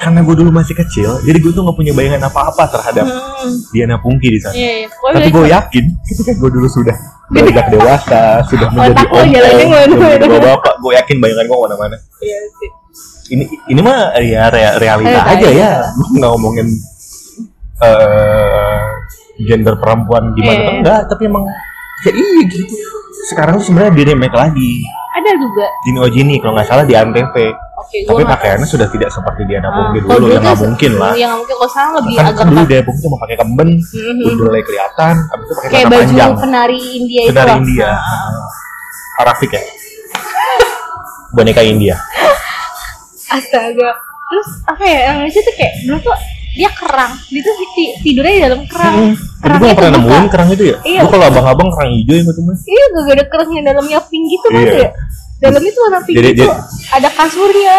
karena gue dulu masih kecil, jadi gue tuh nggak punya bayangan apa-apa terhadap Diana Pungki di sana. Hmm. Iya, iya. Gua Tapi bilang, gue yakin, ketika gue dulu sudah beranjak dewasa, sudah menjadi Otak lo jalannya om, kemana-mana. sudah menjadi bapak, gue yakin bayangan gue kemana-mana. Iya sih. Ini ini mah ya rea- realita Realita, aja ya, iya. Gua nggak ngomongin eh gender perempuan gimana Iya. atau enggak, tapi emang ya iya gitu. Sekarang tuh sebenarnya dia remake lagi. Ada juga. Dini Ojini kalau nggak salah di Antv. Oke, gua Tapi nggak- pakaiannya sudah tidak seperti di anak Ah, Pungki kalau dulu, dulu ya nggak tuh- mungkin lah. Iya nggak mungkin. Kalau sekarang lebih Kan agak dulu pak- dia Pungki cuma pakai kemben, Mhm. undulnya kelihatan, habis itu pakai kayak celana baju panjang. penari India itu. Penari lah. India. ah. Arafik ya. Boneka India. Astaga. Terus apa ya yang lucu tuh kayak dulu tuh dia kerang, dia tuh ti- tidurnya di dalam kerang. Tapi gue Kerangnya gak pernah kebuka. nemuin kerang itu ya. Iya. Gue kalau abang-abang kerang hijau yang gue temuin. Iya, gak ada kerang yang dalamnya pink gitu kan Iya. ya. Dalamnya tuh warna pink Jadi- gitu. jadi- Ada kasurnya.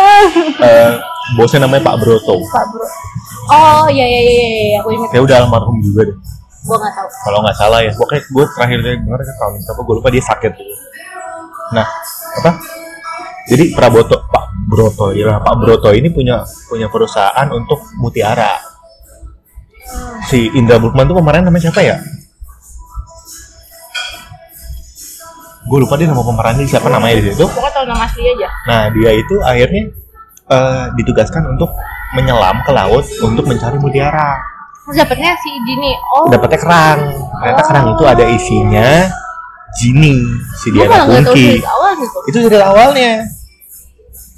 Eh, bosnya namanya Pak Broto. Pak Bro. Oh iya iya iya iya, iya, aku ingat. Kayak udah almarhum juga deh. Gua nggak tahu. Kalau nggak salah ya. Pokoknya gue terakhir dari denger ke tahun apa gue lupa dia sakit. dulu. Nah, apa? Jadi Praboto Pak Broto ya Pak Broto ini punya punya perusahaan untuk mutiara. Si Indra Burkman tuh pemeran namanya siapa ya? Gue lupa dia nama pemerannya siapa namanya di situ. Pokoknya tahu nama asli aja. Nah dia itu akhirnya eh, ditugaskan untuk menyelam ke laut untuk mencari mutiara. Terus dapetnya si Dini. Oh. Dapatnya kerang. Ternyata kerang itu ada isinya Jini si Gua Diana malah nggak tahu Pungki. dari awal gitu. Itu dari awalnya.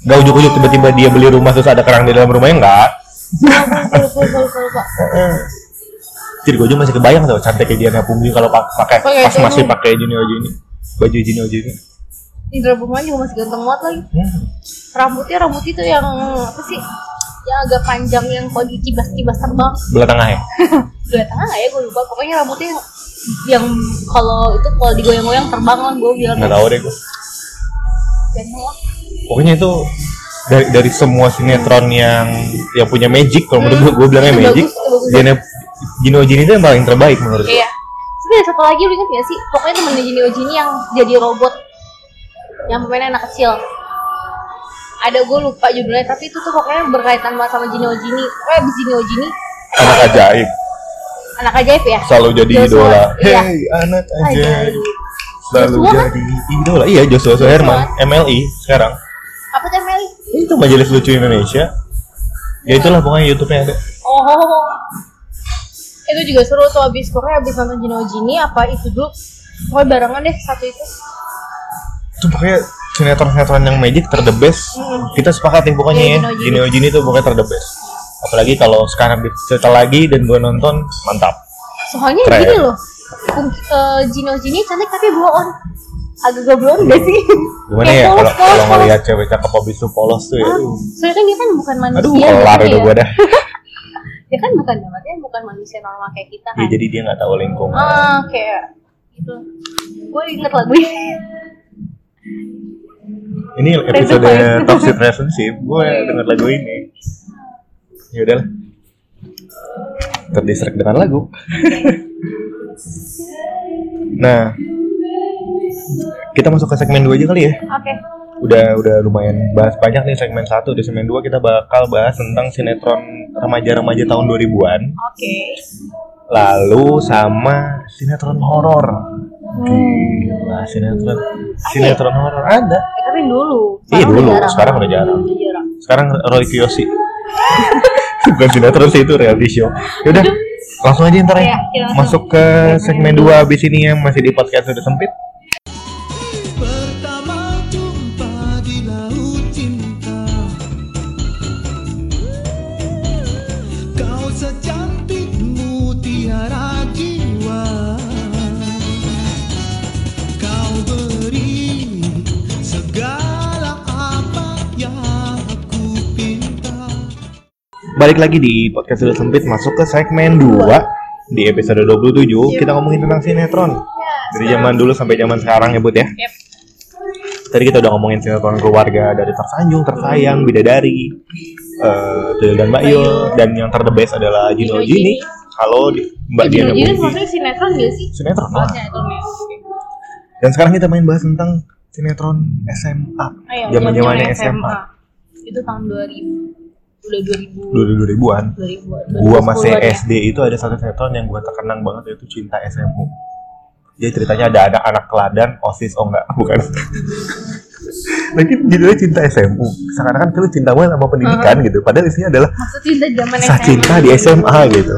Gak ujuk-ujuk tiba-tiba dia beli rumah terus ada kerang di dalam rumahnya enggak. Lupa lupa lupa lupa. Jadi gue juga masih kebayang tau cantiknya Diana Pungki kalau pak- pakai Pakai pas masih itu. pakai junior jini baju junior jini. Indra Bruman juga masih ganteng banget lagi. Hmm. Rambutnya rambut itu yang apa sih? Yang agak panjang yang kalau dikibas-kibas terbang. Belah tengah ya. Dua tengah nggak ya gue lupa. Pokoknya rambutnya yang, yang kalau itu kalau digoyang-goyang terbang kan gue bilang Nggak tahu deh gue. ganteng lah. Pokoknya itu dari dari semua sinetron yang yang punya magic kalau menurut gue gue bilangnya Itu magic. Hmm. bagus, itu bagus. Diana Jino Jini itu yang paling terbaik menurut gue. Iya. Terus ada satu lagi lu inget gak sih? Pokoknya temennya Jini Ojini yang jadi robot yang pemainnya anak kecil. Ada gue lupa judulnya tapi itu tuh pokoknya berkaitan banget sama Jini Ojini. Pokoknya abis Jini Ojini Anak ajaib anak ajaib ya. selalu jadi Joshua, idola. iya. Hey anak ajaib Ajaib. selalu Joshua kan? jadi idola. Iya Joshua Soherman MLI E sekarang Apa tuh Meli? itu majelis lucu Indonesia. Ya itulah pokoknya YouTube-nya ada. Oh. Itu juga seru tuh abis pokoknya abis nonton Jino Jini apa itu dulu pokoknya barengan deh satu itu. Itu pokoknya sinetron-sinetron yang magic ter the best. Hmm. Kita sepakat nih pokoknya Iya, ya. Jini Jino Jini itu pokoknya ter the best. Apalagi kalau sekarang dicerita lagi dan gue nonton mantap. Soalnya Keren. gini loh. Pung- eh, Jino Jini cantik tapi blow on. Agak gak blow on gak sih? Gimana Kayak ya kalau Eh, polos, polos, kalau polos. ngelihat cewek cakep habis itu polos tuh ya. aduh. Soalnya kan dia kan bukan manusia. Aduh, gitu kelar ya. udah gue dah. Dia kan bukan maksudnya bukan manusia normal kayak kita Ya kan. jadi dia nggak tahu lingkungan. Ah, kayak gitu. Gue inget lagunya. Ini episode Relationship. toxic relationship. Gue denger lagu ini. Ya udahlah. Terdistract dengan lagu. nah, kita masuk ke segmen 2 aja kali ya. Oke. Udah udah lumayan bahas banyak nih segmen 1 di segmen 2 kita bakal bahas tentang sinetron remaja-remaja tahun 2000-an. Oke. lalu sama sinetron horor. Gila, sinetron sinetron horor ada. Eh, tapi dulu. Iya, dulu. udah jarang. Sekarang udah jarang. Udah jarang. Sekarang Roy Kiyoshi. Bukan sinetron sih itu reality show. Yaudah, langsung aja ntar ya. Iya, iya, Masuk ke segmen 2 abis ini yang masih di podcast sudah sempit. Pertama jumpa di laut cinta Kau secantik mutiara jiwa Kau beri segala apa yang aku pinta Balik lagi di podcast sudah sempit masuk ke segmen 2 di episode Iya. 27 kita ngomongin tentang sinetron. Dari zaman dulu sampai zaman sekarang ya, Bud ya. Yep. Tadi kita udah ngomongin sinetron keluarga dari tersanjung, tersayang, bidadari, eh Tuyul dan Mbak Yul dan yang ter the best adalah Jino Jino Jini. Jini. Kalau di- Mbak Eh, Jino Diana Jini Pungki. maksudnya sinetron gak sih? Sinetron Oh, lah. sinetron ya. Oke. Dan sekarang kita main bahas tentang sinetron SMA. Ayo, iya, Zaman-zamannya zaman-zamannya SMA. Itu tahun 2000. udah 2000 dua ribuan 2000 gua masih ya. SD itu ada satu sinetron yang gua terkenang banget yaitu cinta SMU jadi ceritanya ada anak anak keladan osis oh enggak bukan Nanti judulnya cinta SMU seakan-akan tuh lu kan cinta banget sama pendidikan gitu padahal isinya adalah Maksud cinta zaman kisah SMA. cinta di SMA gitu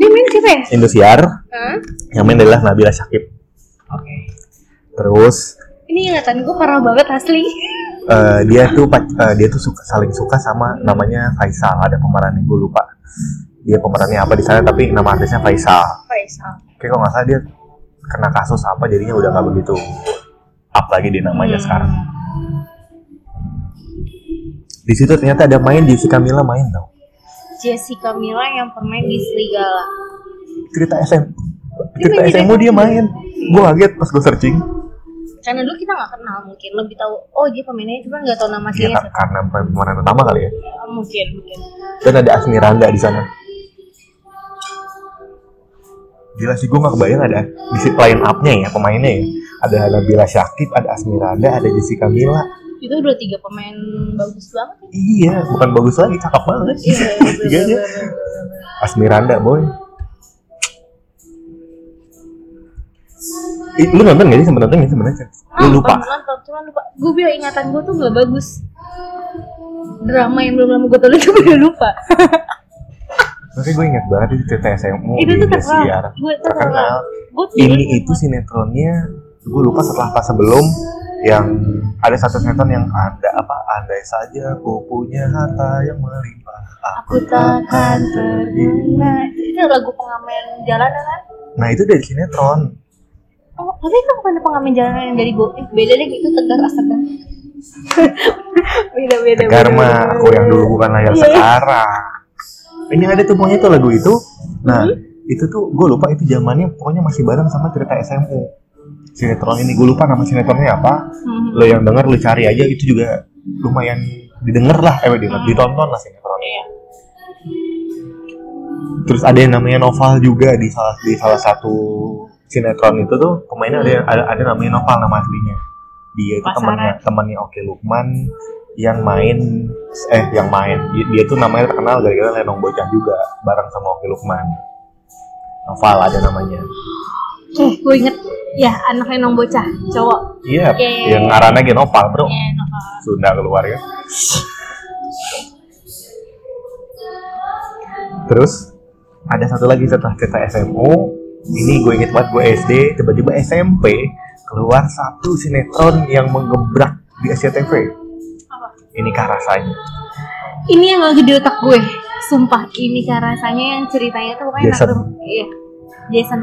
Dia main siapa ya? Indosiar Hah? yang main adalah Nabila Syakib terus Ini ingatan gue parah banget asli. eh, dia tuh pac- eh, dia tuh suka saling suka sama namanya Faisal ada pemerannya gue lupa dia pemerannya apa di sana tapi nama artisnya Faisal Faisal. kayak kalau nggak salah dia kena kasus apa jadinya udah nggak begitu up lagi di namanya Hmm. sekarang di situ ternyata ada main Jessica Mila main tau Jessica Mila yang pernah di Serigala. cerita SM Dia cerita main SMU dia main gue kaget pas gue searching Karena dulu kita nggak kenal mungkin lebih tahu. Oh dia pemainnya cuma nggak tahu nama ya, kar- aslinya siapa. Oh, karena pemeran utama kali ya Mungkin mungkin. dan ada Asmiranda di sana Gila sih gue gak kebayang ada di si line up-nya ya pemainnya ya ada Nabila Syakib, ada Asmiranda, ada Jessica Mila. Itu udah tiga pemain bagus banget. Iya, bukan bagus lagi, cakep banget. Iya, Tiganya. Asmiranda boy Ih, lu nonton gak sih sempet nonton gak sih sebenarnya lu lupa Nonton, cuma lupa. Gue bilang ingatan gue tuh nggak bagus. Drama yang belum lama gue tonton gue udah lupa. tapi gue ingat banget itu cerita SMU itu di tuh terkenal. Indosiar Gue iya terkenal terkenal. Gue ini itu sinetronnya gue lupa setelah pas sebelum yang ada satu sinetron yang anda apa andai saja ku punya harta yang melimpah Aku takkan terdengar. Itu lagu pengamen jalanan kan? nah itu dari sinetron Oh, tapi itu bukan pengamen jalanan yang dari gue. Eh, beda deh itu tegar ya? astaga. beda beda. Tegar beda, mah beda, aku yang beda. dulu bukan layar Iya. sekarang. Ini ada tuh pokoknya tuh lagu itu. Nah, Hmm? itu tuh gue lupa itu zamannya pokoknya masih bareng sama cerita SMU. Sinetron ini gue lupa nama sinetronnya apa. Hmm. Lo yang denger lo cari aja itu juga lumayan didengar lah, eh didengar, ditonton lah sinetronnya. Terus ada yang namanya Noval juga di salah di salah satu sinetron itu tuh pemainnya ada ada, ada namanya Noval nama aslinya. Dia itu Pasaran. temannya temannya Oke Lukman yang main eh yang main dia, dia tuh namanya terkenal gara-gara Lenong Bocah juga bareng sama Oke Lukman. Noval ada namanya. Eh, gue inget. Ya, anaknya nong bocah, cowok. Iya, Oke. yang ngarannya Gen Noval, Bro. Ya, novel. Sunda keluar ya. Terus ada satu lagi setelah cerita SMU, ini gue inget banget gue SD, tiba-tiba SMP keluar satu sinetron yang menggebrak di SCTV. Ini kah rasanya? Ini yang lagi di otak gue. Sumpah, ini kan rasanya yang ceritanya tuh pokoknya Jason. nakal. Iya. Jason.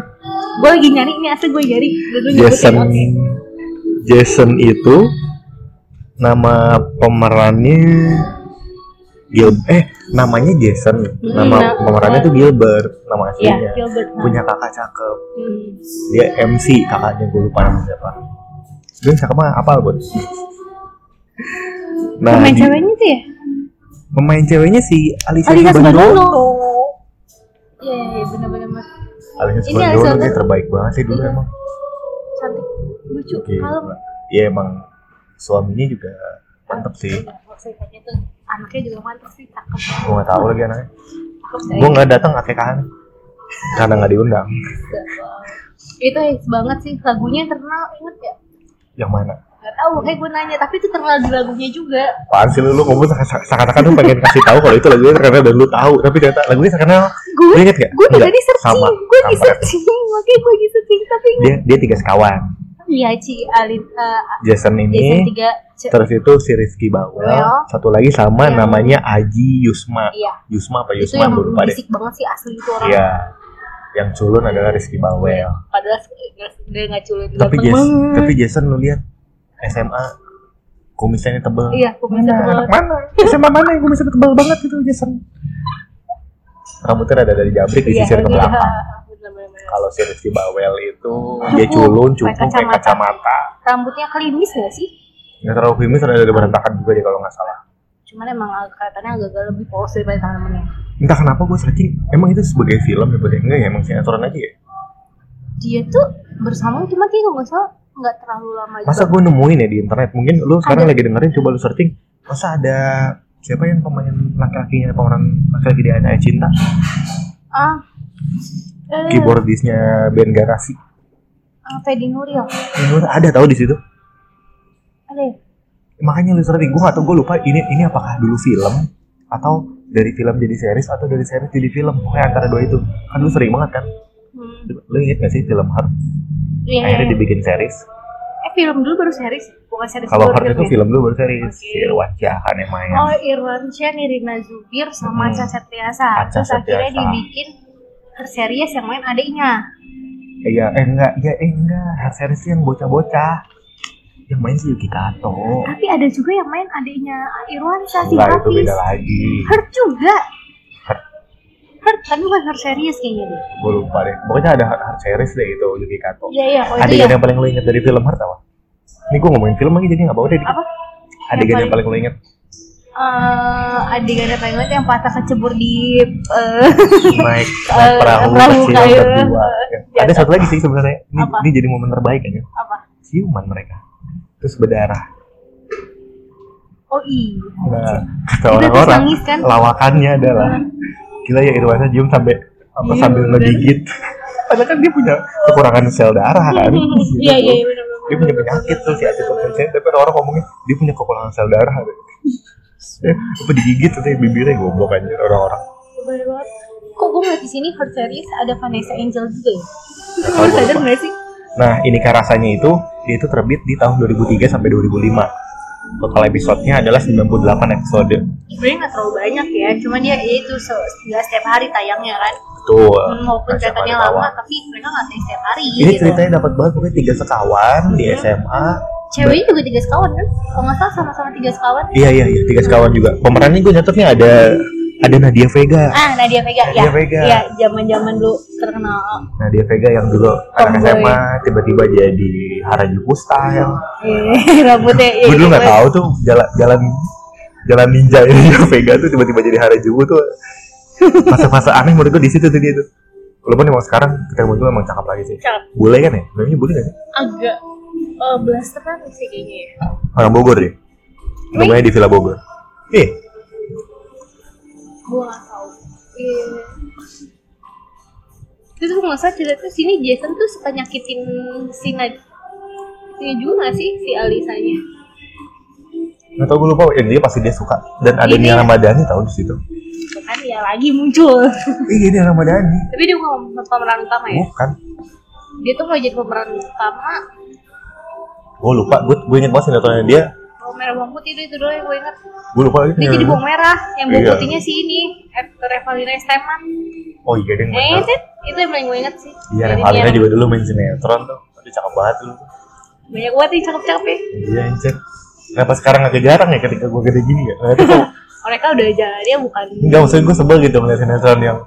Gue lagi nyari ini asli gue nyari. Dulu nyebutin, Jason oke. Jason itu nama pemerannya Gil eh namanya Jason, Hmm, nama nah, pemerannya tuh Gilbert, nama Iya, aslinya. Gilbert. Nah, Punya kakak cakep. hmm. dia MC kakaknya gue lupa namanya siapa dia cakep mah apa buat nah Pemain di- ceweknya tuh ya? pemain ceweknya si Alisa Alisa Subandolo Subandolo. Iya, iya, iya, bener-bener mas. Alisa Ini Subandolo Alisa dia Subandolo. terbaik banget sih dulu Iya. emang Cantik, lucu, Oke. kalem. ya emang suaminya juga mantep sih Iya, Sifatnya tuh anaknya juga mantap sih, cakep. gue nggak tahu lagi anaknya Iya. Cakep, saya. gue nggak datang akekahan karena nggak diundang eh, Itu hits banget sih, lagunya terkenal, inget ya? yang mana Gak tau, makanya gue nanya, tapi itu terkenal di lagunya juga. Apaan sih lu, lu ngomong seakan-akan lu pengen kasih tahu kalau itu lagunya terkenal dan lu tahu tapi ternyata lagunya terkenal Gue lu inget gak? gue Enggak, tadi searching, sama, gue di kampret. searching, makanya gue di searching tapi dia, dia tiga sekawan iya Ci Alin, eh, Jason ini Jason tiga, C- Terus itu si Rizky Bawel, Bawel. satu lagi sama Yang- namanya Aji Yusma. iya Yusma apa itu Yusman yang gue lupa deh. berisik banget sih asli itu orang, Iya, Iya. Yang culun adalah Rizky Bawel. padahal se- dia nggak culun, Tapi ganteng Jason, banget. tapi Jason lu lihat SMA kumisnya ini tebel. iya kumisnya Anak banget, mana? SMA mana yang kumisnya tebel banget itu Jason? Rambutnya ada dari jabrik iya disisir ke iya, belakang. bener-bener. Kalau si Rizky Bawel itu dia culun, cukup pakai pakai kacamata. kacamata. rambutnya klimis gak sih? Nggak terlalu kumis, ada ada berantakan juga deh kalau nggak salah. cuman emang ag- kelihatannya agak-agak lebih polos daripada temen-temennya Entah kenapa gue searching, emang itu sebagai film ya? Bang? Enggak ya, emang sinetron aja ya? dia tuh bersama cuma kayak kalau nggak salah nggak terlalu lama Masa juga gue nemuin ya di internet? Mungkin lu sekarang Ada. lagi dengerin, coba lu searching Masa ada Siapa yang pemain laki-lakinya pemeran laki-laki di Anak Cinta? ah eh, Keyboardisnya band Garasi. ah, Fedi Nuril Ini ada tahu di situ. ada ya? Makanya lu sering gue atau gue lupa ini ini apakah dulu film atau dari film jadi series atau dari series jadi film pokoknya antara dua itu kan lu sering banget kan Hmm. lu inget gak sih film Heart Iya, akhirnya iya. dibikin series eh film dulu baru series bukan series kalau dulu, Heart itu ya? film dulu baru series Ya, kan Oke. si Irwan Syahkan yang main Oh, Irwan Syah, Nirina Zubir, sama Hmm. Aca Septriasa. Acha Terus akhirnya Septriasa. dibikin per series yang main adiknya. Iya, eh enggak, iya eh enggak. Hair series yang bocah-bocah. Yang main si Yuki Kato. Tapi ada juga yang main adiknya Ah, Irwan Syah, Ah, si Enggak, itu Hafiz. beda lagi. Hurt juga. Hurt. Hurt, tapi bukan Hurt series kayaknya deh. Gue lupa deh. Pokoknya ada hair series deh itu Yuki Kato. Iya, iya. Oh, itu Adegan yang yang paling lo inget dari film Heart apa? Ini gue ngomongin film lagi jadi nggak apa-apa deh. dikit. Apa? Adegan Yang yang paling lo inget. eh adegan yang paling banget yang patah kecebur di... eh, Naik, naik Eh, perahu perahu kecil kayu. berdua. Ya. Jatuh. Ada satu lagi sih sebenarnya. Ini, Apa? ini jadi momen terbaik kayaknya. apa? Siuman mereka. Terus berdarah. Oh, iya. Nah, kata Itu terus orang-orang nangis kan? lawakannya adalah gila ya Irwansa cium sampai apa Iya, sambil bener. ngegigit. Padahal kan dia punya kekurangan sel darah kan. Gitu. Iya, iya, iya. bener, Dia bener, punya bener, penyakit bener, tuh si bener, Aceh bener, bener. Konsen, tapi orang ngomongnya dia punya kekurangan sel darah. Eh, apa digigit tuh ya, bibirnya goblok anjir orang-orang. Bener banget. Kok gue ngeliat di sini Hurt series ada Vanessa Angel juga ya? Nggak tahu Gue gua sadar lupa. gak sih? Nah, ini kah rasanya itu dia itu terbit di tahun 2003 sampai 2005. Total episode-nya adalah 98 episode. Sebenernya gak terlalu banyak ya, cuman dia ya itu se nggak setiap hari tayangnya kan Betul. Hmm, Walaupun Masya kelihatannya Allah. lama, tapi mereka gak tayang setiap hari Ini gitu ceritanya dapat banget pokoknya tiga sekawan di Iya. SMA. Ceweknya juga tiga sekawan kan? Kalau gak salah sama-sama tiga sekawan Iya iya iya tiga sekawan juga. Pemerannya gue nyatetnya ada ada Nadia Vega. Ah, Nadia Vega Nadia ya. Vega. Iya, zaman-zaman dulu terkenal. Nadia Vega yang dulu anak Tomboy. SMA tiba-tiba jadi Harajuku style. Eh, rambutnya ya. gue dulu nggak tahu tuh jalan jalan jalan ninja ini Nadia Vega tuh tiba-tiba jadi Harajuku tuh masa-masa aneh menurut gue di situ tuh dia tuh. Walaupun emang sekarang kita muncul emang cakep lagi sih. Cakep. Bule kan ya? Namanya bule kan? Agak eh blasteran sih kayaknya ya. Orang Bogor deh. Namanya di Villa Bogor. Eh, Gua gak tahu. Iya. Terus gue nggak salah ceritanya sini Jason tuh suka nyakitin si Nad. Ini juga gak sih si Alisanya? nggak tau gue lupa. Ya, dia pasti dia suka. Dan ada Ini- Nia Ramadhani tahu di situ. Itu Kan ya lagi muncul. Iya Nia Ramadhani. Tapi dia bukan pemeran utama ya. Bukan. Dia tuh mau jadi pemeran utama. gue lupa gue gue inget banget sinetronnya dia Bawang merah bawang putih itu dulu yang gue inget. gue lupa lagi Dia jadi sinetronnya. bawang merah. Yang bawang Iya. putihnya si ini. Actor Revalina Esteman. oh iya dia Eh, bener itu, itu yang paling gue inget sih. iya Jadi Revalina dia- juga dulu main sinetron tuh dia cakep banget dulu tuh. Banyak banget nih cakep-cakep ya. iya anjir kenapa sekarang agak jarang ya ketika gue gede gini ya nggak tahu Mereka udah jalannya bukan. enggak maksudnya gue sebel gitu melihat sinetron yang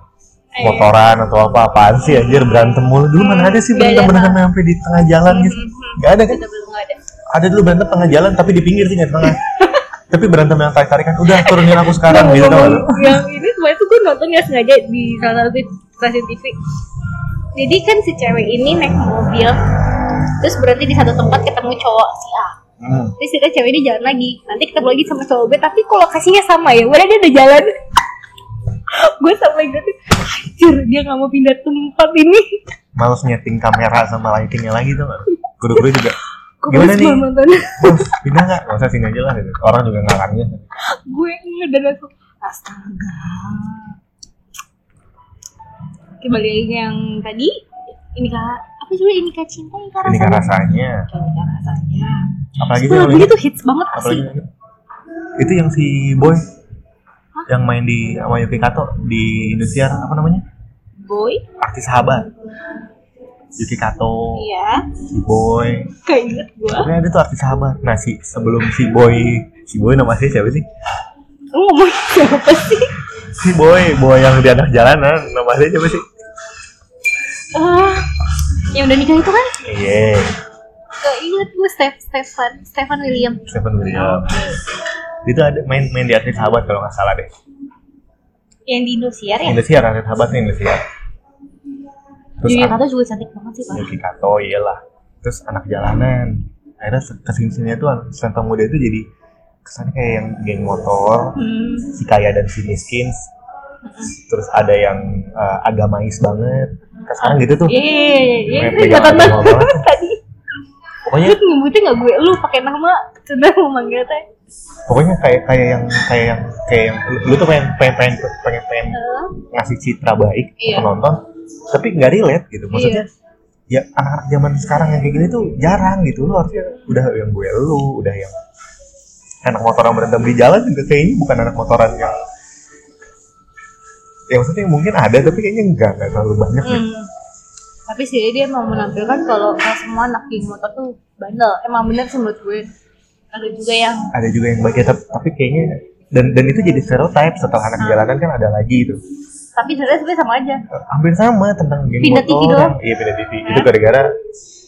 Eh. motoran atau apa apaan sih anjir berantem mulu dulu mana ada sih Nggak ada, berantem berantem Pak. sampai di tengah jalan gitu Hmm, nggak ada kan Betul-betul nggak ada. ada dulu berantem tengah jalan tapi di pinggir sih nggak di tengah tapi berantem yang tarik tarikan udah turunin aku sekarang gitu tau nggak lu? yang ini kemarin tuh gue nonton nggak sengaja di salah satu stasiun TV jadi kan si cewek ini naik mobil terus berhenti di satu tempat ketemu cowok si A Hmm. terus kita cewek ini jalan lagi nanti ketemu lagi sama cowok B tapi kok lokasinya sama ya padahal dia udah jalan gue sampai gitu anjir dia nggak mau pindah tempat ini males nyeting kamera sama lightingnya lagi tuh nggak lu? guru-guru juga gue gimana males nih banget nonton Bos, pindah nggak nggak usah sini aja lah gitu. orang juga ngarangnya gue ngedan langsung astaga kembali lagi yang tadi ini kak apa sih ini kak cinta ini kak ini kan rasanya rasanya ini kak rasanya apalagi sih lagunya apalagi, tuh hits banget apalagi sih itu yang si boy yang main di sama Yuki Kato di Indosiar apa namanya boy artis sahabat Yuki Kato iya si boy kayak inget gue pokoknya dia tuh artis sahabat nah si sebelum si boy si boy nama aslinya siapa sih lu ngomong siapa sih si boy boy yang di anak jalanan nama aslinya siapa sih ah yang udah nikah itu kan iya gak inget gue Steph Stefan Stefan William Stephen William itu ada main main di artis sahabat kalau nggak salah deh yang di Indosiar ya Indosiar artis sahabatnya Indosiar terus Julia apa- Kato juga cantik banget sih pak Yuki Kato iyalah terus anak jalanan akhirnya se- kesini sininya tuh anak santong muda itu jadi kesannya kayak yang geng motor Hmm. si kaya dan si miskin terus ada yang eh, agamais banget Kayak sekarang gitu tuh Iya, iya, iya, Mepe itu kelihatan yang ada banget bawah. tadi. pokoknya Lu nyebutin nggak gue, lu pakai nama, sudah mau manggil teh. pokoknya kayak kayak yang kayak yang kayak yang lu- lu tuh pengen pengen pengen pengen, pengen Eh, ngasih citra baik ke Iya. penonton tapi nggak relate gitu maksudnya ya Iya. anak-anak zaman sekarang yang kayak gini tuh jarang gitu lu harusnya udah yang gue lu udah yang anak motoran berantem di jalan juga kayaknya bukan anak motoran yang ya maksudnya mungkin ada tapi kayaknya enggak enggak terlalu banyak gitu. Hmm. Tapi sih dia mau menampilkan kalau nggak semua anak geng motor tuh bandel. Emang bener sih menurut gue. Ada juga yang ada juga yang baik ya, tapi, tapi kayaknya dan dan itu jadi stereotype setelah anak Hmm. jalanan kan ada lagi itu tapi sebenarnya sebenarnya sama aja. hampir sama tentang geng Pindah TV motor doang. iya pindah TV itu gara-gara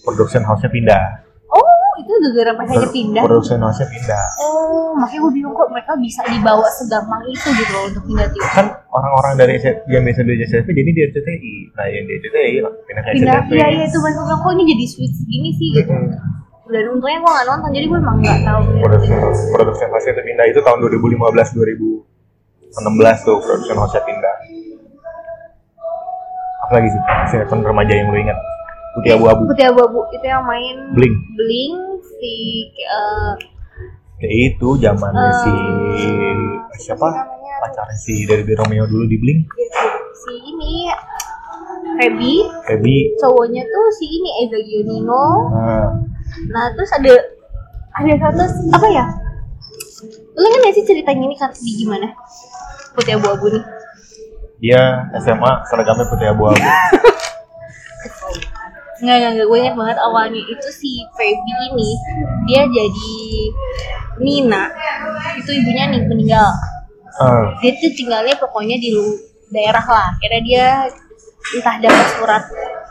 production house-nya pindah Oh, itu gara-gara mereka aja pindah. production house-nya pindah Oh, makanya gue bingung kok mereka bisa dibawa segampang itu gitu loh untuk pindah tipe. kan orang-orang dari S- yang biasa di SCTV jadi di RCTI nah yang di RCTI lah pindah ke Pindah, SCTV iya iya itu mereka bilang kok ini jadi switch gini sih gitu. Mm-mm. Dan untungnya gue nggak nonton, jadi gue emang nggak tahu. production house production house-nya itu pindah itu tahun 2015 2016 tuh production house-nya pindah apa lagi sih sinetron remaja yang lu ingat putih abu-abu Putih abu-abu itu yang main Blink. Blink si eh, Ya itu zamannya si siapa Eh, siapa sih namanya? pacarnya si dari Romeo dulu di Blink, si ini Feby Feby. cowoknya tuh si ini Eza Gionino Nah, nah terus ada ada satu apa ya lu ingat gak sih ceritanya ini kan di gimana putih abu-abu nih dia SMA seragamnya putih abu-abu. nggak nggak nggak gue ingat banget awalnya itu si Feby ini dia jadi Nina itu ibunya nih meninggal Eh, dia tuh tinggalnya pokoknya di lu- daerah lah akhirnya dia entah dapat surat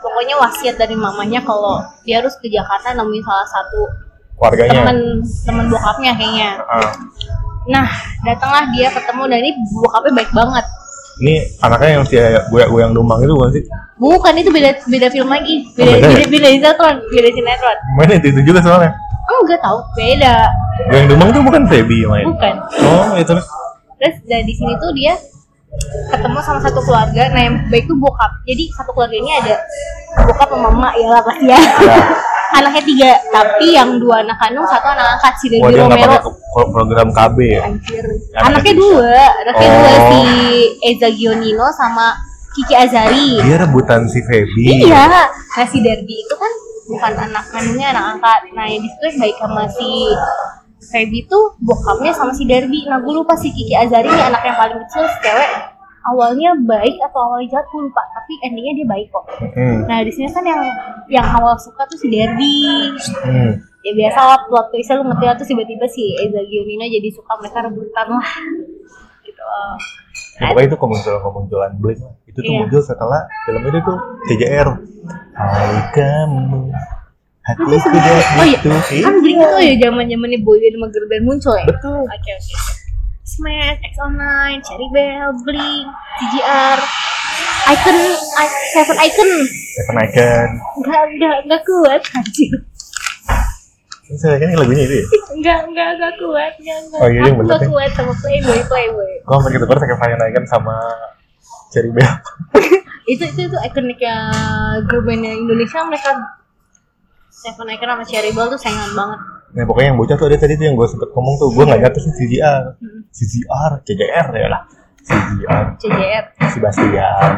pokoknya wasiat dari mamanya kalau dia harus ke Jakarta nemuin salah satu keluarganya. temen temen bokapnya kayaknya Ah, nah datanglah dia ketemu dan ini bokapnya baik banget ini anaknya yang si gue gue yang domang itu bukan sih? bukan itu beda beda film lagi beda beda ya? beda beda sinetron beda sinetron Main itu, itu juga soalnya. enggak tahu beda Gue yang domang itu bukan Feby yang main. bukan Oh, itu terus. terus dari di sini tuh dia ketemu sama satu keluarga nah yang baik tuh bokap jadi satu keluarga ini ada bokap sama mama ya lah pasti ya anaknya tiga tapi yang dua anak kandung satu anak angkat si Wah, Dewi Oh, dia nggak Romero pakai ke- ke- program KB ya. anjir Anaknya anaknya tiga. dua anaknya dua Oh. si Eza Gionino sama Kiki Azari Dia rebutan si Feby. iya nah si Derby itu kan bukan anak kandungnya anak angkat nah yang di situ yang baik sama si Feby tuh bokapnya sama si Derby nah gue lupa si Kiki Azari ini anak yang paling kecil si cewek awalnya baik atau awalnya jahat gue lupa tapi endingnya dia baik kok Mm-mm. nah di sini kan yang yang awal suka tuh si Derby Mm. ya biasa lah plot twistnya lu ngerti lah terus tiba-tiba si Eza Gionino jadi suka mereka rebutan lah gitu loh. Ya, pokoknya itu kemunculan-kemunculan Blink lah. Itu tuh Kan? Iya. muncul setelah film itu tuh CJR. Hai kamu, hatiku tidak Oh iya, butuh kan Blink itu ya zaman zamannya boy band sama girl band muncul ya Betul. oke oke Smash, X09, Cherry Bell, Blink, CGR, Icon, I- Seven Icon, Seven Icon. nggak nggak nggak kuat anjir, Ini saya kan lagunya itu ya. nggak nggak nggak kuat, nggak nggak, Oh, iya, yang aku nggak bener ya. kuat sama Playboy Playboy. Gua hampir ketukar Seven Icon sama Cherry Bell. itu itu itu ikoniknya grup bandnya Indonesia mereka Seven Icon sama Cherry Bell tuh saingan banget Nah pokoknya yang bocah tuh ada tadi tuh yang gue sempet ngomong tuh gue nggak nyata sih CJR, Hmm. CJR, CJR ya lah, CJR, CJR Sebastian,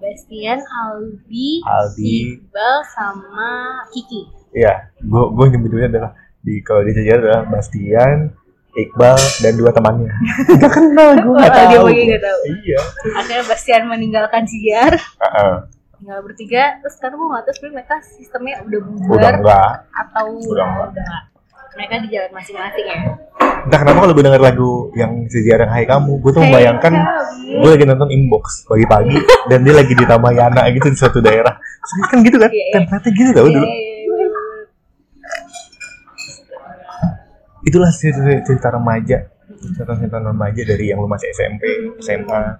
Bastian Aldi Aldi. Iqbal sama Kiki Iya, gue gue nyebutnya adalah di kalau di CJR adalah Bastian, Iqbal dan dua temannya. Gak kenal gue nggak Wah, dia tahu. lagi nggak tahu. Iya. akhirnya Bastian meninggalkan CJR Heeh. tinggal bertiga terus sekarang gue nggak tahu sebenarnya mereka sistemnya udah Udah bubar enggak. atau Udah enggak. nggak. mereka di jalan masing-masing ya Entah kenapa kalau gue denger lagu yang sejarah Hai Kamu, gue tuh Hai membayangkan Kamu. gue lagi nonton Inbox pagi-pagi dan dia lagi di Tamayana gitu di suatu daerah. Serius kan gitu kan? Iya, iya. Template gitu tau dulu. Itulah cerita, cerita remaja. Cerita-cerita remaja dari yang lu masih SMP, SMA.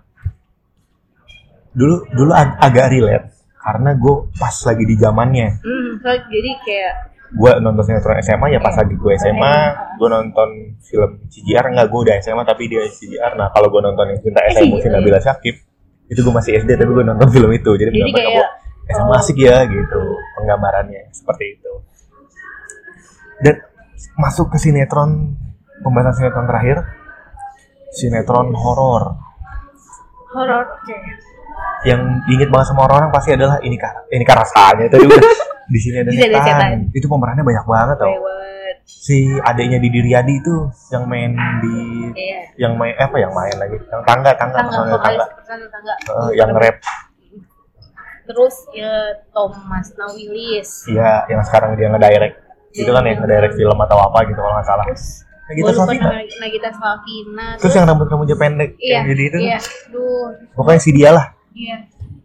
Dulu dulu ag- agak relate karena gue pas lagi di zamannya. Hmm, so, jadi kayak gue nonton sinetron SMA ya Iya. pas lagi gue SMA gue nonton film CJR enggak gue udah SMA tapi dia CJR nah kalau gue nonton yang cinta Eh, SMA CJR. Sina Bila Syakib itu gue masih SD tapi gue nonton film itu jadi, Jadi menggambarkan kayak, oh." bahwa SMA asik ya gitu penggambarannya seperti itu dan masuk ke sinetron pembahasan sinetron terakhir sinetron horor horor oke yang diinget banget sama orang-orang pasti adalah ini kar ini rasanya tadi udah di sini ada Di sini ada Iya, setan. setan. itu pemerannya banyak banget tau lewat si adiknya di Diriadi itu yang main di Iya. yang main eh, apa yang main lagi yang tangga tangga Tangga, personel vokalis tangga personil tangga. Eh, yang rap Terus ya Thomas Nawilis. iya yang sekarang dia ngedirect itu kan yang ngedirect film atau apa gitu kalau nggak salah Iya. Terus Nah, gitu gua lupa Slavina. nama- Nagita Slavina. terus yang rambut rambutnya pendek iya, yang jadi itu kan? Iya. Duh, pokoknya si dia lah iya.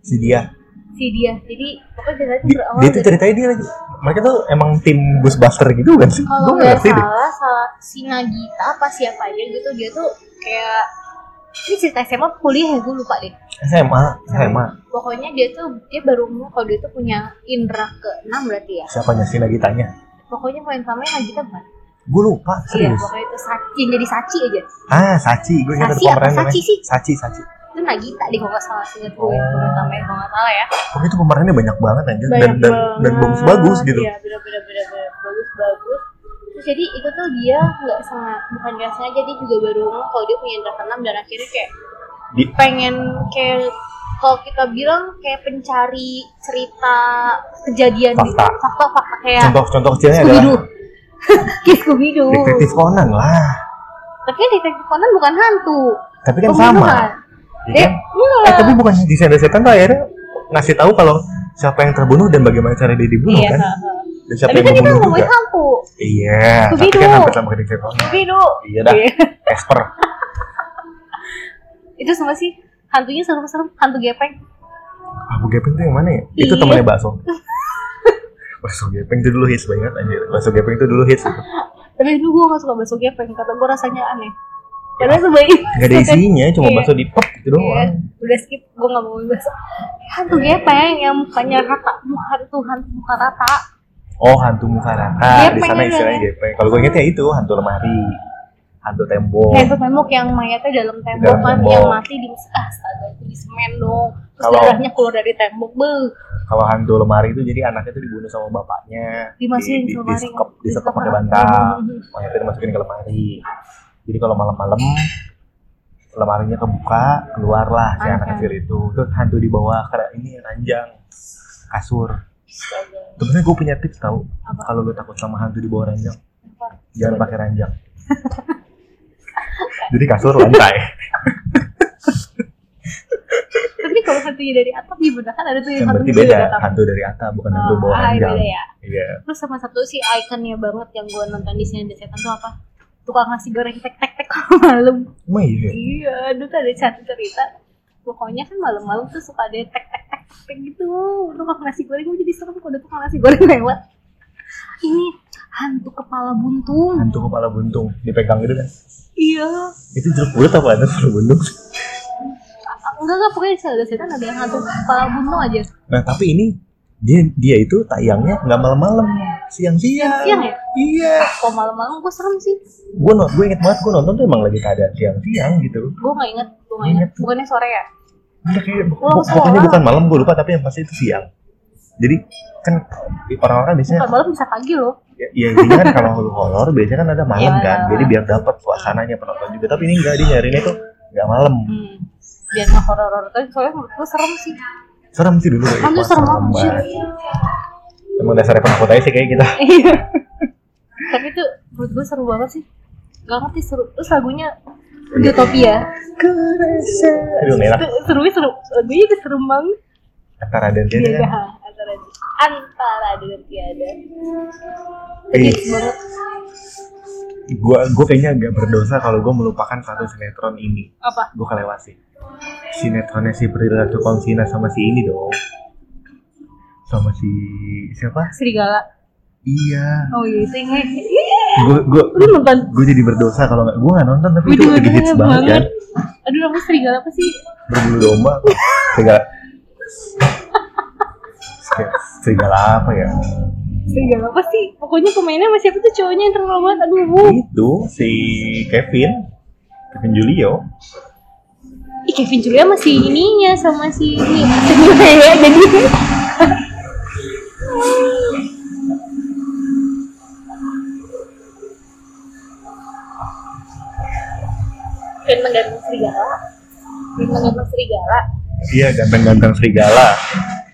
si dia Si dia. Jadi pokoknya ceritanya Di- berawal dia tuh dari- ceritanya dia lagi mereka tuh emang tim Ghostbuster gitu kan sih gue kalau nggak nggak ngerti deh salah salah si Nagita apa siapa aja gitu dia tuh kayak ini cerita SMA apa kuliah ya gue lupa deh SMA SMA pokoknya dia tuh dia baru ngomong kalau dia tuh punya indra ke enam berarti ya siapanya sih lagi tanya pokoknya poin utamanya Nagita bukan gue lupa iya serius pokoknya itu saci jadi saci aja ah Sachi gue ingat ada Sachi apa pemeran namanya Sachi sih? Sachi Sachi itu Nagita deh kalau nggak salah singkat gue Oh. poin ya, utamanya kalau nggak salah ya Oke itu pemerannya banyak banget anjir dan Banyak dan dan bagus bagus gitu. Iya, bener bener bener bener. bagus bagus. Terus jadi itu tuh dia nggak sengaja, bukan nggak sengaja dia juga baru ngomong kalau dia punya indra keenam dan akhirnya kayak Di- pengen kayak kalau kita bilang kayak pencari cerita kejadian Fakta. gitu. fakta fakta kayak Contoh-contoh kecilnya adalah Scooby-Doo kayak Scooby-Doo detektif Conan lah. tapi kan detektif Conan bukan hantu Tapi kan Pembunuhan. sama. Ya Oh, eh kan? enggak Eh tapi bukan di Sender Setan tuh akhirnya ngasih tahu kalau siapa yang terbunuh dan bagaimana cara dia dibunuh iya kan. ha, ha. Dan siapa tapi yang kan kita membunuh ngomongin juga. hantu Iya. Tapi Scooby-Doo. kan hampir sama kayak detektif Conan. Scooby-Doo Iya dah. Esper. itu sama sih hantunya serem-serem hantu gepeng Abu Ah, Gepeng tuh yang mana ya? Itu Iya. temannya bakso. bakso Gepeng tuh dulu hits banget anjir. Bakso Gepeng tuh dulu hits. Gitu. tapi dulu gue gak suka bakso gepeng kata gue rasanya aneh karena sebaik Gak Ya. ada isinya, cuma Iya. bakso di pop gitu Iya, doang. udah skip gue gak mau bakso hantu gepeng yang mukanya rata muka itu hantu muka rata Oh, hantu muka rata. Di Gepeng sana ada. istilahnya gepeng. Kalau gue inget ya itu hantu lemari, hantu tembok. kayak itu tembok yang mayatnya dalam tembok Oh. Dalam kan tembok. yang mati di ah, astaga itu di semen dong terus Kalau- darahnya keluar dari tembok beuh Kalau hantu lemari itu jadi anaknya itu dibunuh sama bapaknya. Dimasukin di, di, ke lemari. Mm-hmm. disekap, disekap Disekap. pakai bantal. Mayatnya dimasukin ke lemari. Jadi kalau malam-malam lemarinya kebuka, keluarlah si anak Anak. kecil itu. Terus hantu di bawah karena ini ranjang kasur. Sebenarnya gue punya tips tau kalau lu takut sama hantu di bawah ranjang, jangan pakai ranjang. Jadi kasur lantai. tapi kalau hantunya dari atap gimana kan ada tuh yang yang berarti hantunya beda dari atap hantu dari atap bukan hantu Oh, bawah ah, ranjang beda ya iya terus sama satu si ikonnya banget yang gue nonton di sini ada setan tuh apa tukang nasi goreng tek tek tek malam emang iya Iya, aduh tuh ada satu cerita. Pokoknya kan malam-malam tuh suka ada yang tek tek tek tek tek gitu. Tukang nasi goreng gue jadi serem kalau ada tukang nasi goreng lewat. Ini hantu kepala buntung. hantu kepala buntung dipegang gitu kan Iya. itu jeruk bulat apa ada jeruk buntung Enggak enggak pokoknya di ada setan ada yang hantu kepala buntung aja. nah tapi ini dia dia itu tayangnya nggak malam-malam siang-siang Iya. Siang ya? iya Kok malam-malam gue serem sih. gue no, gue inget banget gue nonton tuh emang lagi keadaan siang-siang gitu Gue nggak inget, gue nggak inget. Bukannya sore ya? Enggak, kayak, bu- Wah, bu- pokoknya sekolah. bukan malam gue lupa tapi yang pasti itu siang jadi kan orang-orang biasanya Bukan malam bisa pagi loh. ya, ya intinya kan kalau horor horor biasanya kan ada malam Iya, kan malam. jadi biar dapat suasananya penonton juga tapi ini enggak dia nyarinya tuh nggak malam Hmm. Biar nggak horor-horor kan soalnya menurut gue serem sih. serem sih dulu kayak Kan tuh gitu. serem banget. banget. emang dasarnya penakut aja sih kayak kita Iya. Tapi itu menurut gue seru banget sih. Gak ngerti seru. Terus lagunya Iya. Utopia. aduh merah Itu Serunya seru. Lagunya itu seru banget. antara dan dia Iya, kan antara antara ada dan tiada. Ih, Hits banget. gua gua kayaknya agak berdosa kalau gua melupakan satu sinetron ini Apa? gua kelewat sih sinetronnya si Prilly Tukonsina sama si ini dong sama si siapa Serigala. iya Oh iya itu yang gua gua Lu nonton? gua jadi berdosa kalau nggak gua nggak nonton tapi Gue itu juga lagi hits keren banget kan banget. Aduh namanya serigala apa sih? berbulu domba tuh. serigala serigala apa ya Serigala apa sih? Pokoknya pemainnya sama siapa tuh cowoknya yang terkenal banget. Aduh, bu. itu si Kevin Kevin Julio Ih, Kevin Julia masih ininya sama si ini. ya, jadi. Dan menggantung serigala. Dan menggantung serigala. iya ganteng-ganteng serigala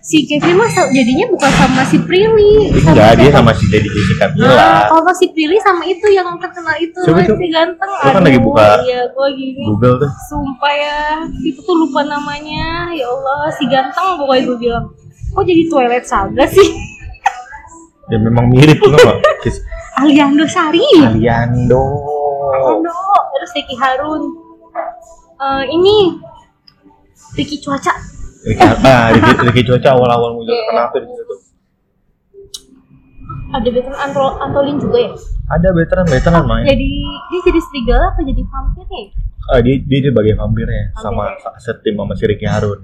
Si Kevin mah sa- jadinya bukan sama si Prilly. enggak dia siapa? sama si Lady Jessica Ah, Mila kalau si Prilly sama itu yang terkenal itu Siapa itu? si ganteng. Lu kan lagi buka Iya, gua gini. Google tuh Sumpah ya, itu tuh lupa namanya. Ya Allah, si ganteng pokoknya gue bilang. Kok jadi Twilight Saga sih? ya memang mirip tuh sama Kis- Aliando Sari. Aliando Aliando, terus Ricky Harun. Eh, ini Ricky Cuaca. Ricky, ah, Ricky, Ricky Cuaca awal-awal muncul Iya. kenapa di situ tuh Ada Betran Antro Antolin juga ya? ada veteran veteran main Jadi dia jadi serigala apa jadi vampir ya? Ah, dia dia sebagai vampirnya sama Vampirnya. sa- setim sama si Ricky Harun Oh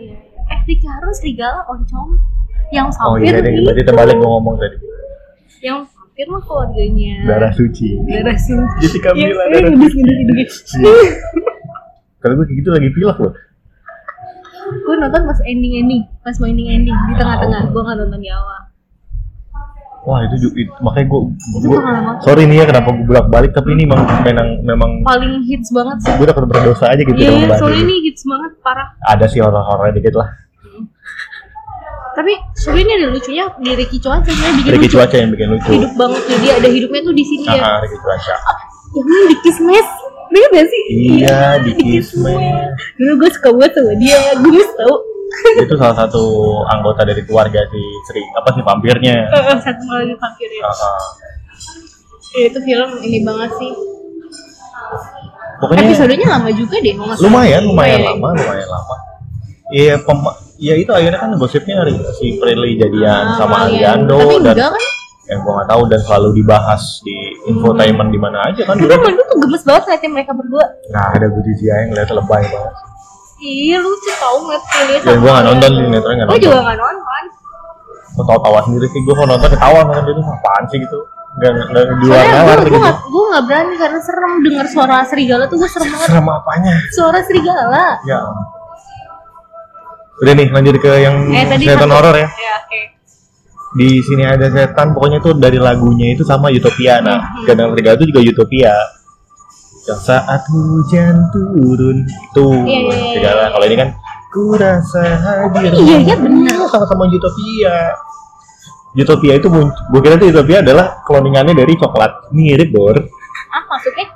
iya. iya. Eh Ricky Harun serigala oncom yang oh vampir Iya. iya deh itu. berarti terbalik gua ngomong tadi Yang vampir mah keluarganya. darah suci Darah sini. Jessica Iya, Mila iya, darah iya, suci iya, iya, Iya. kalau gue kayak gitu lagi pilek loh gue nonton pas ending ending pas mau ending ending di tengah tengah gue nggak nonton di awal Wah itu, ju- itu makanya gue, Itu gue pengalaman. sorry nih ya kenapa gue bolak balik tapi ini memang memang, memang paling hits banget sih gue takut berdosa aja gitu iya dalam yeah, bahas soalnya ini. ini hits banget parah Ada sih horor-horornya dikit lah. tapi sebenarnya ini ada lucunya di Ricky Cuaca sebenarnya bikin Ricky lucu cuaca yang bikin lucu. hidup banget jadi ada hidupnya tuh di sini Ah, ya ah, Ricky cuaca. yang ini di Kismes Bener gak sih? Iya di Kismet. Dulu gue suka banget sama dia, gemes tau itu salah satu anggota dari keluarga si Sri apa sih vampirnya. Eh, eh, Satu malam di vampir ya Ah, ah. Eh, Itu film ini banget sih Pokoknya Episodenya lama juga deh kalau nggak salah. lumayan lumayan ya. lama lumayan lama. Iya pema- ya itu akhirnya kan gosipnya dari si Prilly jadian Ah, sama lumayan. Aliando Tapi dan enggak kan yang gua nggak tahu dan selalu dibahas di infotainment di mana aja kan Karena dulu. menurut tuh gemes banget ngeliatin mereka berdua Nah ada gue Jia yang lihat lebay banget. Iya lucu tau ngeliat Julia Ya gue nggak nonton sih netranya nggak Gue juga nonton. gak nonton Gue tahu tawa sendiri sih gue kalau nonton ketawa kan itu apaan sih gitu. Gak gak di luar Soalnya nalar gue gitu. gak, gue gak berani karena serem denger suara serigala tuh gue serem banget Serem apanya? Suara serigala Ya. ampun. Udah nih lanjut ke yang setan satu- horor ya. Ya oke Di sini ada setan pokoknya tuh dari lagunya itu sama Utopia. Nah, Mm-hmm. Gadang Serigala itu juga Utopia. Yang saat hujan turun itu Iya, iya, iya. segala. Kalau ini kan ku rasa hadir. Iya iya bener Iya, sama-sama Utopia. Utopia itu gue kira itu Utopia adalah cloningannya dari coklat mirip bor. Ah maksudnya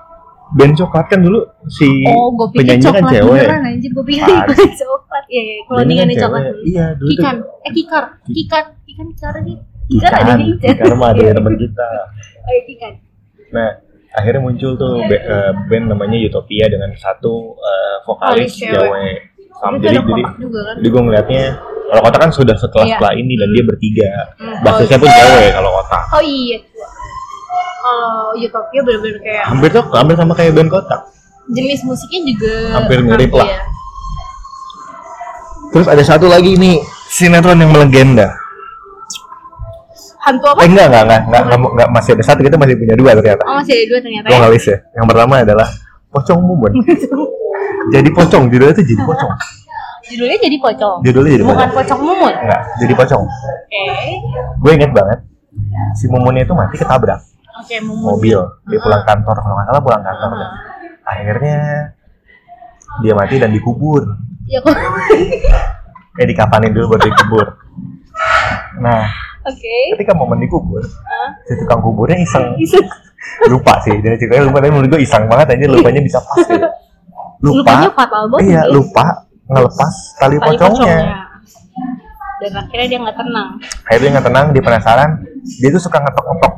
Band coklat kan dulu si Oh gue pikir penyanyinya coklat kan cewek. beneran anjir Gue pikir Ah. iklan coklat Iya iya kalau Bandnya ini kan coklat cewek. Iya dulu tuh. Kikan Eh kikar Kikan Kikan kikar sih Kikar Iya, ada Ikan, di Ijen ikan mah ada teman kita. Oh iya kikan Nah, akhirnya muncul tuh be- eh, band namanya Utopia dengan satu eh, vokalis Vokalis cewek. cewek. Sam, Itu jadi ada jadi kotak juga kan jadi gue ngeliatnya kalau kotak kan sudah setelah Iya. setelah ini dan dia bertiga. Hmm. Basisnya pun cewek kalau kotak. Oh iya Kalau Utopia bener-bener kayak Hampir tuh hampir sama kayak band kotak. jenis musiknya juga Hampir mirip lah. ya. Terus ada satu lagi nih sinetron yang melegenda. Hantu apa? Eh enggak enggak enggak enggak, enggak, enggak, masih ada satu kita masih punya dua ternyata. Oh masih ada dua ternyata Gua ya. ngalis ya. Yang pertama adalah pocong mumun. jadi pocong judulnya tuh jadi pocong. Judulnya jadi pocong. Judulnya jadi Bukan pocong. pocong mumun. Enggak, jadi pocong. Oke. Gue inget banget si mumunnya itu mati ketabrak Oke mumun. mobil. Dia pulang kantor kalau nggak salah pulang kantor. kan. Akhirnya dia mati dan dikubur. Ya kok. Eh dikapanin dulu baru dikubur. Nah, Oke. ketika momen dikubur, Hah? si tukang kuburnya iseng Bisa. lupa sih jadi ceritanya lupa tapi menurut gue iseng banget aja lupanya bisa pas gitu. Lupanya fatal banget iya sih. lupa ngelepas tali, Tali pocongnya Dan akhirnya dia nggak tenang. akhirnya dia nggak tenang dia penasaran dia tuh suka ngetok-ngetok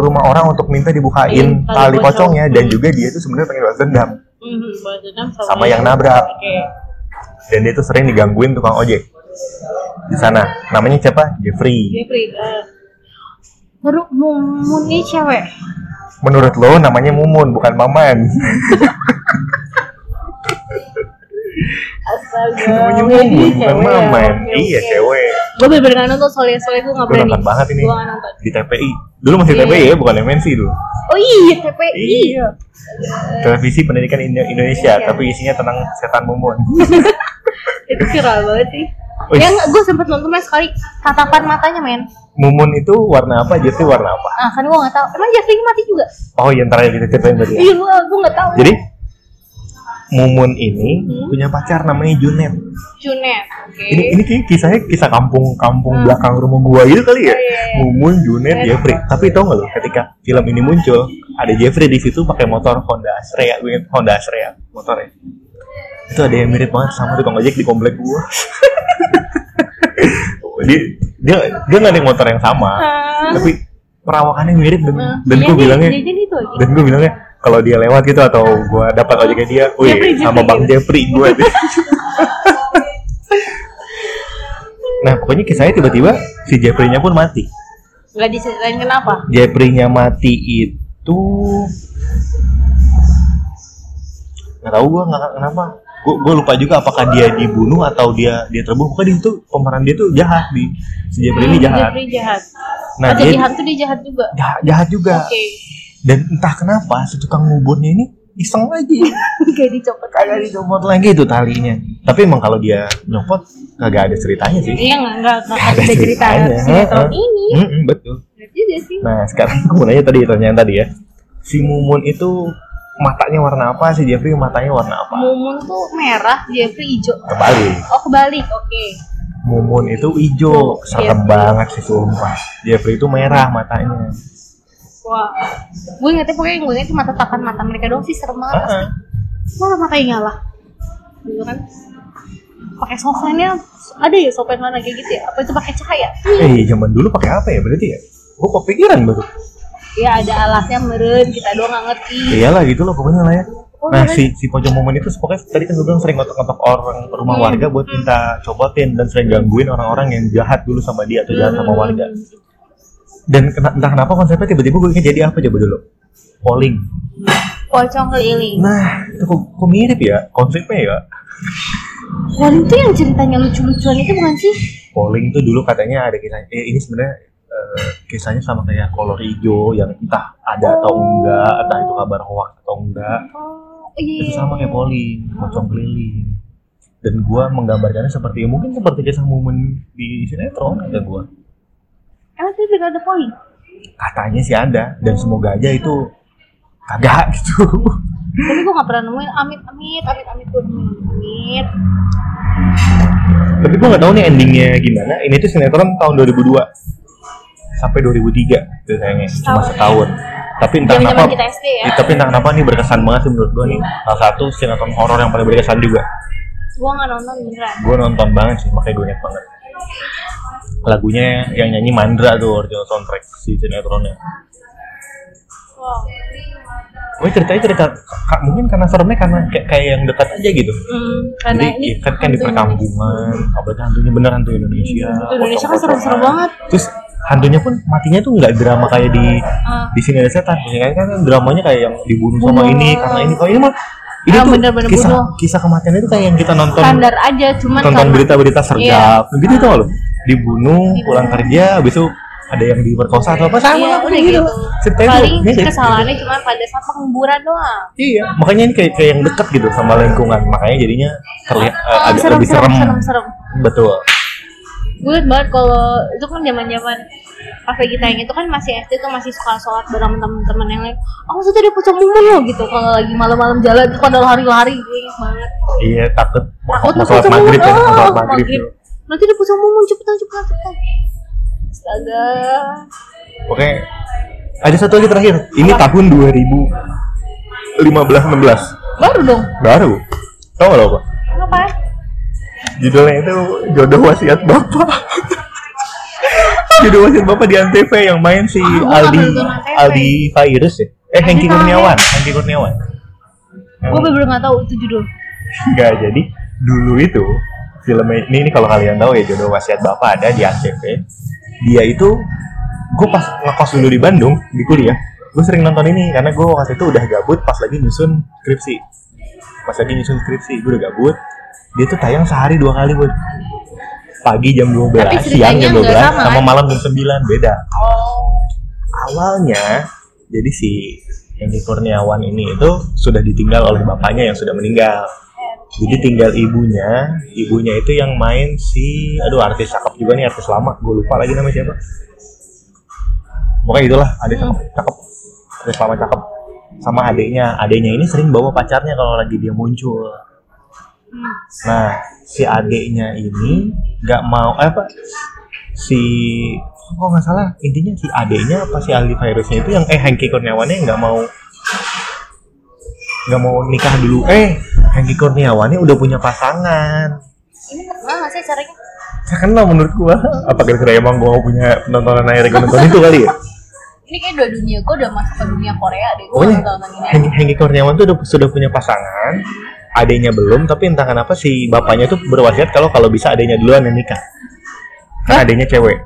rumah orang untuk minta dibukain Iya, tali tali pocong. pocongnya dan juga dia tuh sebenarnya pengen balas dendam Mhm, balas dendam Hmm, Sama iya. yang nabrak. Oke. dan dia tuh sering digangguin tukang ojek di sana namanya siapa Jeffrey Jeffrey. eh, Baru mumun nih cewek. menurut lo namanya Mumun bukan Maman Astaga. Namanya Jadi Mumun, bukan cewek iya, ya. Maman. Oke, Iya, oke. cewek. Gue bener-bener gak nonton soalnya soalnya gue gak Gue berani. nonton banget ini. Gue gak nonton. Di TPI. Dulu masih Iya. TPI ya, bukan MNC dulu. Oh iya, TPI. Televisi Pendidikan Indo- Iya. Indonesia, tapi isinya tentang setan mumun. Itu viral banget sih. Wih. Yang gue sempet nonton mas sekali tatapan matanya men. Mumun itu warna apa, jersey warna apa? Ah kan gue gak tahu. Emang Jasmine mati juga? Oh, yang terakhir kita ceritain tadi. ya. Iya gue gue gak tahu. Jadi Mumun ini Hmm. punya pacar namanya Junet. Junet. Oke. Ini ini kayak kisahnya kisah kampung-kampung Hmm. belakang rumah gua gitu kali ya. Oh, iya, iya. Mumun, Junet, Jeffrey. Tapi tau nggak lo, ketika film ini muncul, ada Jeffrey di situ pakai motor Honda Astrea, gue inget Honda Astrea motornya. Itu ada yang mirip banget sama tukang ojek di komplek gua. dia dia dia nggak ada yang motor yang sama, Ah. tapi perawakannya mirip dan, Ah, dan gue jajan- bilangnya jajan itu aja. dan gue bilangnya kalau dia lewat gitu atau gue dapat ojeknya dia, wih Jeffrey, sama Jeffrey Bang gitu. Jeffrey gue. nah pokoknya kisahnya tiba-tiba si Jeffrey-nya pun mati. Gak diceritain kenapa? Jeffrey-nya mati itu nggak tahu gue nggak kenapa. Gue gue lupa juga apakah dia dibunuh atau dia dia terbunuh. Pokoknya di situ pemeran dia tuh jahat di si Jeffrey ini jahat. Jeffrey jahat. Nah Pas dia jadi hantu dia jahat juga. jahat, jahat juga. Oke. Dan entah kenapa si tukang nguburnya ini iseng lagi. Gak dicopot. gitu. kagak dicopot lagi itu talinya tapi emang kalau dia nyopot kagak ada ceritanya sih Iya nggak nggak nggak Nggak ada ada cerita ceritanya. sinetron Heeh. ini. Mm-mm, betul Bener juga sih. nah sekarang aku mau nanya tadi pertanyaan tadi ya si mumun itu matanya warna apa si Jeffrey matanya warna apa Mumun tuh merah, Jeffrey hijau. kebalik Oh kebalik, oke. mumun itu hijau serem Oh, Jeffrey. banget sih sumpah Jeffrey itu merah matanya Wah, gue ingetnya pokoknya gue ingetnya cuma tatapan mata mereka doang sih serem banget. Heeh. Malah matanya nyala. Gitu kan? Pakai sofanya ada ya sopan mana kayak gitu ya? Apa itu pakai cahaya? eh zaman dulu pakai apa ya berarti ya gue kepikiran baru Ya ada alasnya meren, kita doang nggak ngerti. iyalah gitu loh pokoknya lah ya Oh, nah bener. si si pojok momen itu pokoknya tadi kan gue bilang sering ngotok-ngotok orang rumah Hmm. warga buat minta copotin dan sering gangguin orang-orang yang jahat dulu sama dia atau jahat Hmm. sama warga dan kena- entah kenapa konsepnya tiba-tiba gue ingat jadi apa coba dulu polling Pocong keliling. nah itu kok, kok mirip ya konsepnya ya Wali itu yang ceritanya lucu-lucuan itu bukan sih? polling tuh dulu katanya ada kisahnya eh, ini sebenarnya eh, kisahnya sama kayak kolor hijau yang entah ada atau enggak entah itu kabar hoax atau enggak Oh, iya. itu sama kayak polling pocong keliling dan gua menggambarkannya seperti mungkin seperti kisah momen di sinetron kata gua Emang sih tidak ada poli? katanya sih ada dan semoga aja itu kagak gitu Tapi gue gak pernah nemuin amit amit amit amit gue nemuin amit. tapi gua nggak tahu nih endingnya gimana ini tuh sinetron tahun 2002 sampai 2003 tuh sayangnya cuma Setahun. setahun tapi entah Zaman kenapa zaman kita SD ya. eh, tapi entah kenapa nih berkesan banget sih menurut gua nih salah satu sinetron horor yang paling berkesan juga Gue gak nonton beneran. gue nonton banget sih makanya gue inget banget lagunya yang nyanyi Mandra tuh original soundtrack si sinetronnya Wow. gue ceritanya cerita ka- mungkin karena seremnya karena kayak, kayak yang dekat aja gitu Hmm, karena jadi ini iya, kan, kan di hantu perkampungan apalagi hantunya bener hantu Indonesia Hantu Indonesia kan pocong-pocongan. serem-serem banget. terus hantunya pun matinya tuh nggak drama kayak di Ah. di sini ada setan Biasanya kan kan dramanya kayak yang dibunuh sama Bunuh. ini karena ini kalau ini mah ini Ah, tuh bener-bener kisah bunuh. kisah kematian itu kayak yang kita nonton Standar aja, cuman tonton karena Iya. berita-berita sergap gitu tau lo dibunuh Dibunuh. pulang kerja abis itu ada yang diperkosa atau apa sama Iya, lah, udah kayak gitu. Ceritanya tuh Paling mirip. kesalahannya cuma pada saat penguburan doang. iya makanya ini kayak, kayak yang dekat gitu sama lingkungan makanya jadinya terlihat eh, Ah, agak lebih serem, serem, serem. betul Gue liat banget kalau itu kan zaman zaman pas lagi tayang itu kan masih SD tuh masih suka sholat bareng temen-temen yang lain. "Oh, Aku tuh ada pocong mumun loh gitu kalau lagi malam-malam jalan tuh pada lari-lari gue inget banget. iya takut mau, Takut mau tuh sholat pocong maghrib ya mumun. mau Oh, sholat maghrib tuh. Nanti ada pocong mumun cepetan cepetan cepetan. Astaga. oke ada satu lagi terakhir ini tahun 2015 16 Baru dong. baru tau gak lo apa Kenapa? judulnya itu jodoh wasiat bapak jodoh wasiat bapak di antv yang main si Ah, gua nggak Aldi pernah nonton Antv. Aldi Virus ya eh Hengki Aldi Fahir. Kurniawan Hengki Kurniawan Yang Gue bener-bener gak tahu itu judul. nggak jadi dulu itu film ini ini kalau kalian tahu ya jodoh wasiat bapak ada di antv dia itu gue pas ngekos dulu di Bandung di kuliah gue sering nonton ini karena gue waktu itu udah gabut pas lagi nyusun skripsi pas lagi nyusun skripsi gue udah gabut dia tuh tayang sehari dua kali buat pagi jam 12 Tapi siang jam ceritanya 12 nggak sama, sama, kan? malam jam 9 beda Oh. awalnya jadi si Henry Kurniawan ini itu sudah ditinggal oleh bapaknya yang sudah meninggal jadi tinggal ibunya ibunya itu yang main si aduh artis cakep juga nih artis lama gue lupa lagi namanya siapa pokoknya itulah ada cakep cakep artis lama cakep sama adiknya adiknya ini sering bawa pacarnya kalau lagi dia muncul nah si adiknya ini nggak mau eh, apa si kok nggak salah intinya si adeknya apa si ahli virusnya itu yang eh Hengki Kurniawannya nggak mau nggak mau nikah dulu eh Hengki Kurniawannya udah punya pasangan Ini kenal nggak sih caranya? ya kenal menurut gua apa kira-kira emang gua mau punya penontonan akhirnya gua nonton itu kali ya Ini kayak dua dunia gue udah masuk ke dunia Korea deh. Gue pokoknya nggak nonton ini. Hengki, Hengki Kurniawan tuh udah, sudah punya pasangan adeknya belum tapi entah kenapa si bapaknya tuh berwasiat kalau kalau bisa adeknya duluan yang nikah kan adeknya cewek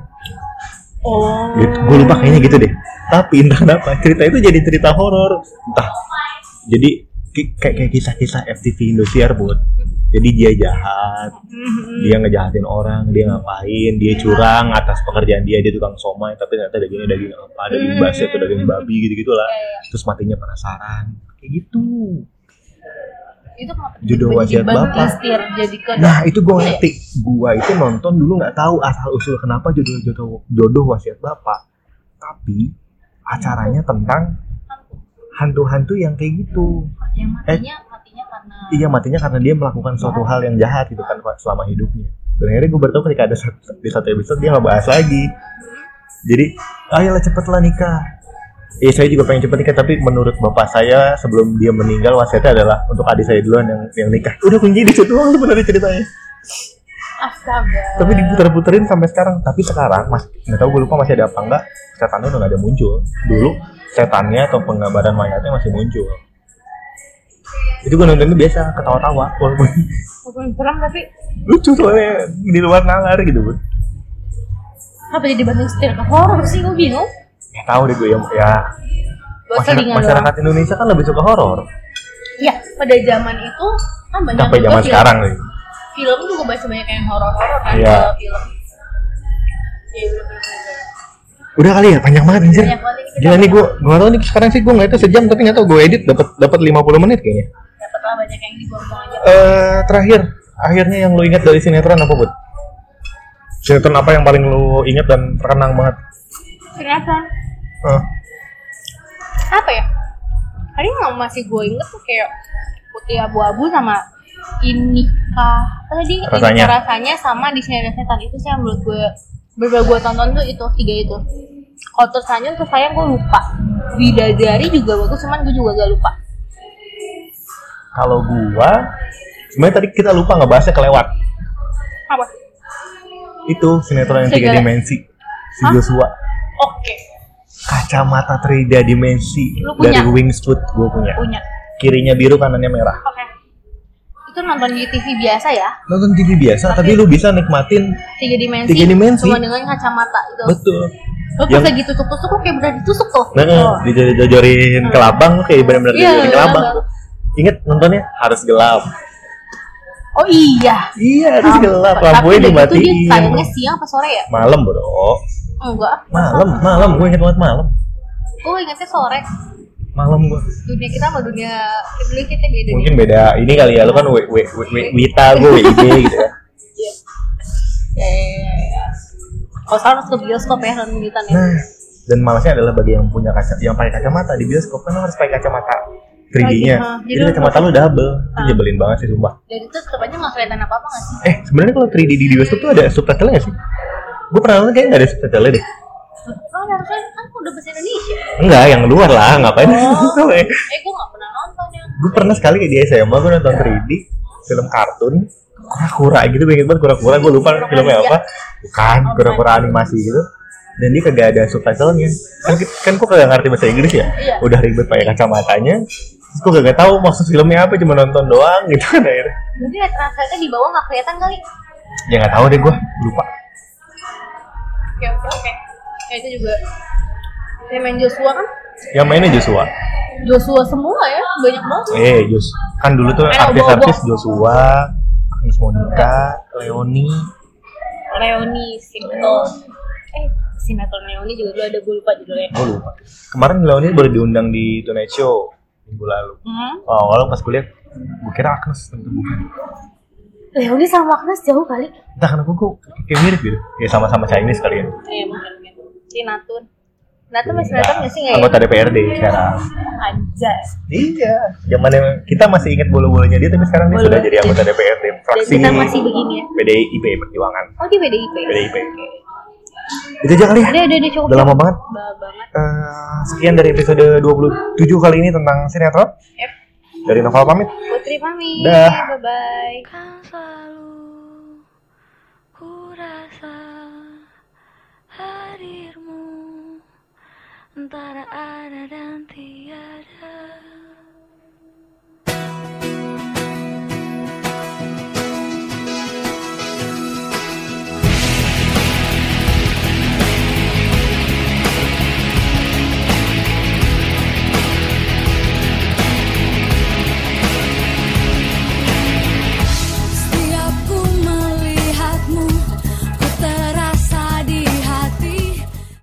Oh. gitu. gue lupa kayaknya gitu deh tapi entah kenapa cerita itu jadi cerita horor entah jadi ki- kayak kayak kisah-kisah FTV Indosiar buat jadi dia jahat Mhm. Iya, dia ngejahatin orang dia ngapain dia curang atas pekerjaan dia dia tukang somai tapi ternyata dagingnya daging apa daging basi atau daging babi gitu gitulah iya. terus matinya penasaran kayak gitu Itu kenapa Judul tiba-tiba wasiat Bandung Bapak. Istir jadi ke nah itu gue ngerti gue itu nonton dulu nggak tahu asal usul kenapa jodoh jodoh jodoh wasiat bapak tapi acaranya tentang hantu-hantu yang kayak gitu yang matinya matinya karena iya matinya karena dia melakukan suatu hal yang jahat gitu kan Pak, selama hidupnya dan akhirnya gue bertemu ketika ada satu, di satu episode dia nggak bahas lagi jadi ayolah cepetlah nikah Eh saya juga pengen cepet nikah tapi menurut bapak saya sebelum dia meninggal wasiatnya adalah untuk adik saya duluan yang yang nikah. Udah kunci di situ doang sebenarnya ceritanya. astaga. Tapi diputer-puterin sampai sekarang. Tapi sekarang mas nggak tahu gue lupa masih ada apa enggak. Setannya udah nggak ada muncul. Dulu setannya atau penggambaran mayatnya masih muncul. Itu gue nonton itu biasa ketawa-tawa walaupun Bukan serem tapi lucu soalnya di luar nalar gitu bud apa jadi Bandung Istir ke horor sih gue bingung. Nggak tahu deh gue ya, ya Gue masyarakat, selingan doang. masyarakat Indonesia kan lebih suka horor Iya pada zaman itu kan banyak sampai juga zaman film- sekarang nih Film juga banyak banyak yang horor-horor kan Iya. kalau film. Iya bener bener. udah kali ya panjang banget anjir Banyak banget ini kita Gila nih gue, gue gak tau nih sekarang sih gue ngeliatnya sejam tapi gak tau gue edit dapat dapat 50 menit kayaknya dapat lah banyak yang dibuang-buang aja. Eh terakhir, akhirnya yang lu ingat dari sinetron apa, Bud? Sinetron apa yang paling lu ingat dan terkenang banget? Ternyata Eh, apa ya? Tadi yang masih gue inget tuh kayak putih abu-abu sama ini kah apa tadi Ini Rasanya. Kah rasanya sama di sini ada setan itu sih yang menurut gue berbeda gue tonton tuh itu tiga itu kalau tersanjung terus sayang gue lupa bidadari juga bagus cuman gue juga gak lupa kalau gua, sebenarnya tadi kita lupa nggak bahasnya kelewat. apa Itu sinetron yang tiga Segala- dimensi. Si Hah? Joshua, oke kacamata tiga dimensi Lu punya? dari Wingsuit gua punya. punya Kirinya biru, kanannya merah. oke itu nonton di TV biasa ya Nonton TV biasa, tapi, lu bisa nikmatin tiga dimensi, Tiga dimensi. cuma dengan kacamata itu betul. lo pas Yang- lagi tusuk tusuk lo kayak beneran ditusuk tuh Nah, Oh. Hmm. dijojorin ke labang lu kayak benar-benar Iya, dijojorin ke labang. labang. Ingat nontonnya harus gelap. oh iya Iya, harus gelap. Tapi Lampunya dari itu dia dimatiin. sayangnya siang apa sore ya? Malam, Bro. Enggak. Malam, malam. Gue inget banget malam. Gue ingetnya sore. Malam gue. Dunia kita sama dunia dulu kita beda nih. Mungkin beda. Ini kali ya, lu kan W- W- W- W- Wita, gue WIB gitu ya. Ya, ya, ya, ya. Kalau salah harus ke bioskop ya nonton Witan ya. Nah, dan malasnya adalah bagi yang punya kaca, yang pakai kacamata di bioskop kan lu harus pakai kacamata 3D-nya. Lagi, ah. Oh, Jadi iya. Jadi lu- kacamata lu Ah. double. Itu nyebelin banget sih, sumpah. Dan itu tetap aja nggak kelihatan apa apa nggak sih? Eh, sebenarnya kalau 3D di bioskop tuh ada subtitle-nya nggak sih? Gue pernah nonton kayaknya nggak ada subtitle-nya deh. Lo harusnya kan udah bahasa Indonesia. Enggak, yang luar lah. Ngapain subtitle-nya? Eh gue nggak pernah nonton ya. yang gue pernah sekali di SMA gue nonton 3D film kartun kura-kura gitu gue inget banget kura-kura gue lupa filmnya apa bukan kura-kura animasi gitu dan dia kagak ada subtitlenya kan kan gue kagak ngerti bahasa Inggris ya Iya. udah ribet pakai kacamatanya terus gue kagak tahu maksud filmnya apa cuma nonton doang gitu kan akhirnya mungkin ada translate di bawah nggak kelihatan kali. ya nggak tahu deh gue lupa Oke oke oke. Ya itu juga. Dia main Joshua kan? yang mainnya Joshua Joshua semua ya, banyak banget. eh Jos kan dulu tuh Ayo, artis-artis bawa-bawa. Joshua Miss Monica, Leoni, Leoni sinetron eh sinetron Leoni juga dulu ada gue lupa judulnya gue lupa. Kemarin Leoni baru diundang di Tonight Show minggu lalu. hmm? Oh, awalnya pas kuliah, gue kira Agnes tentu bukan. Leoni sama Agnes jauh kali Entah kenapa gue kayak mirip gitu. Ya sama-sama Chinese kali ya. eh mungkin mungkin si Natun Nathan masih Nathan nggak sih nggak ya? Anggota DPRD sekarang. anjas Iya, zaman yang kita masih ingat bolu-bolunya dia, tapi sekarang dia Bolu. sudah jadi anggota DPRD dan fraksi kita masih begini ya PDIP Perjuangan. oh dia PDIP PDIP. Itu aja kali ya. Udah udah udah cukup. Udah lama banget. Bah banget Eh, sekian dari episode 27 kali ini tentang sinetron. Yep. Dari Novel pamit. Putri pamit. Dah. Bye bye. Kan selalu ku rasa hadirmu antara ada dan tiada.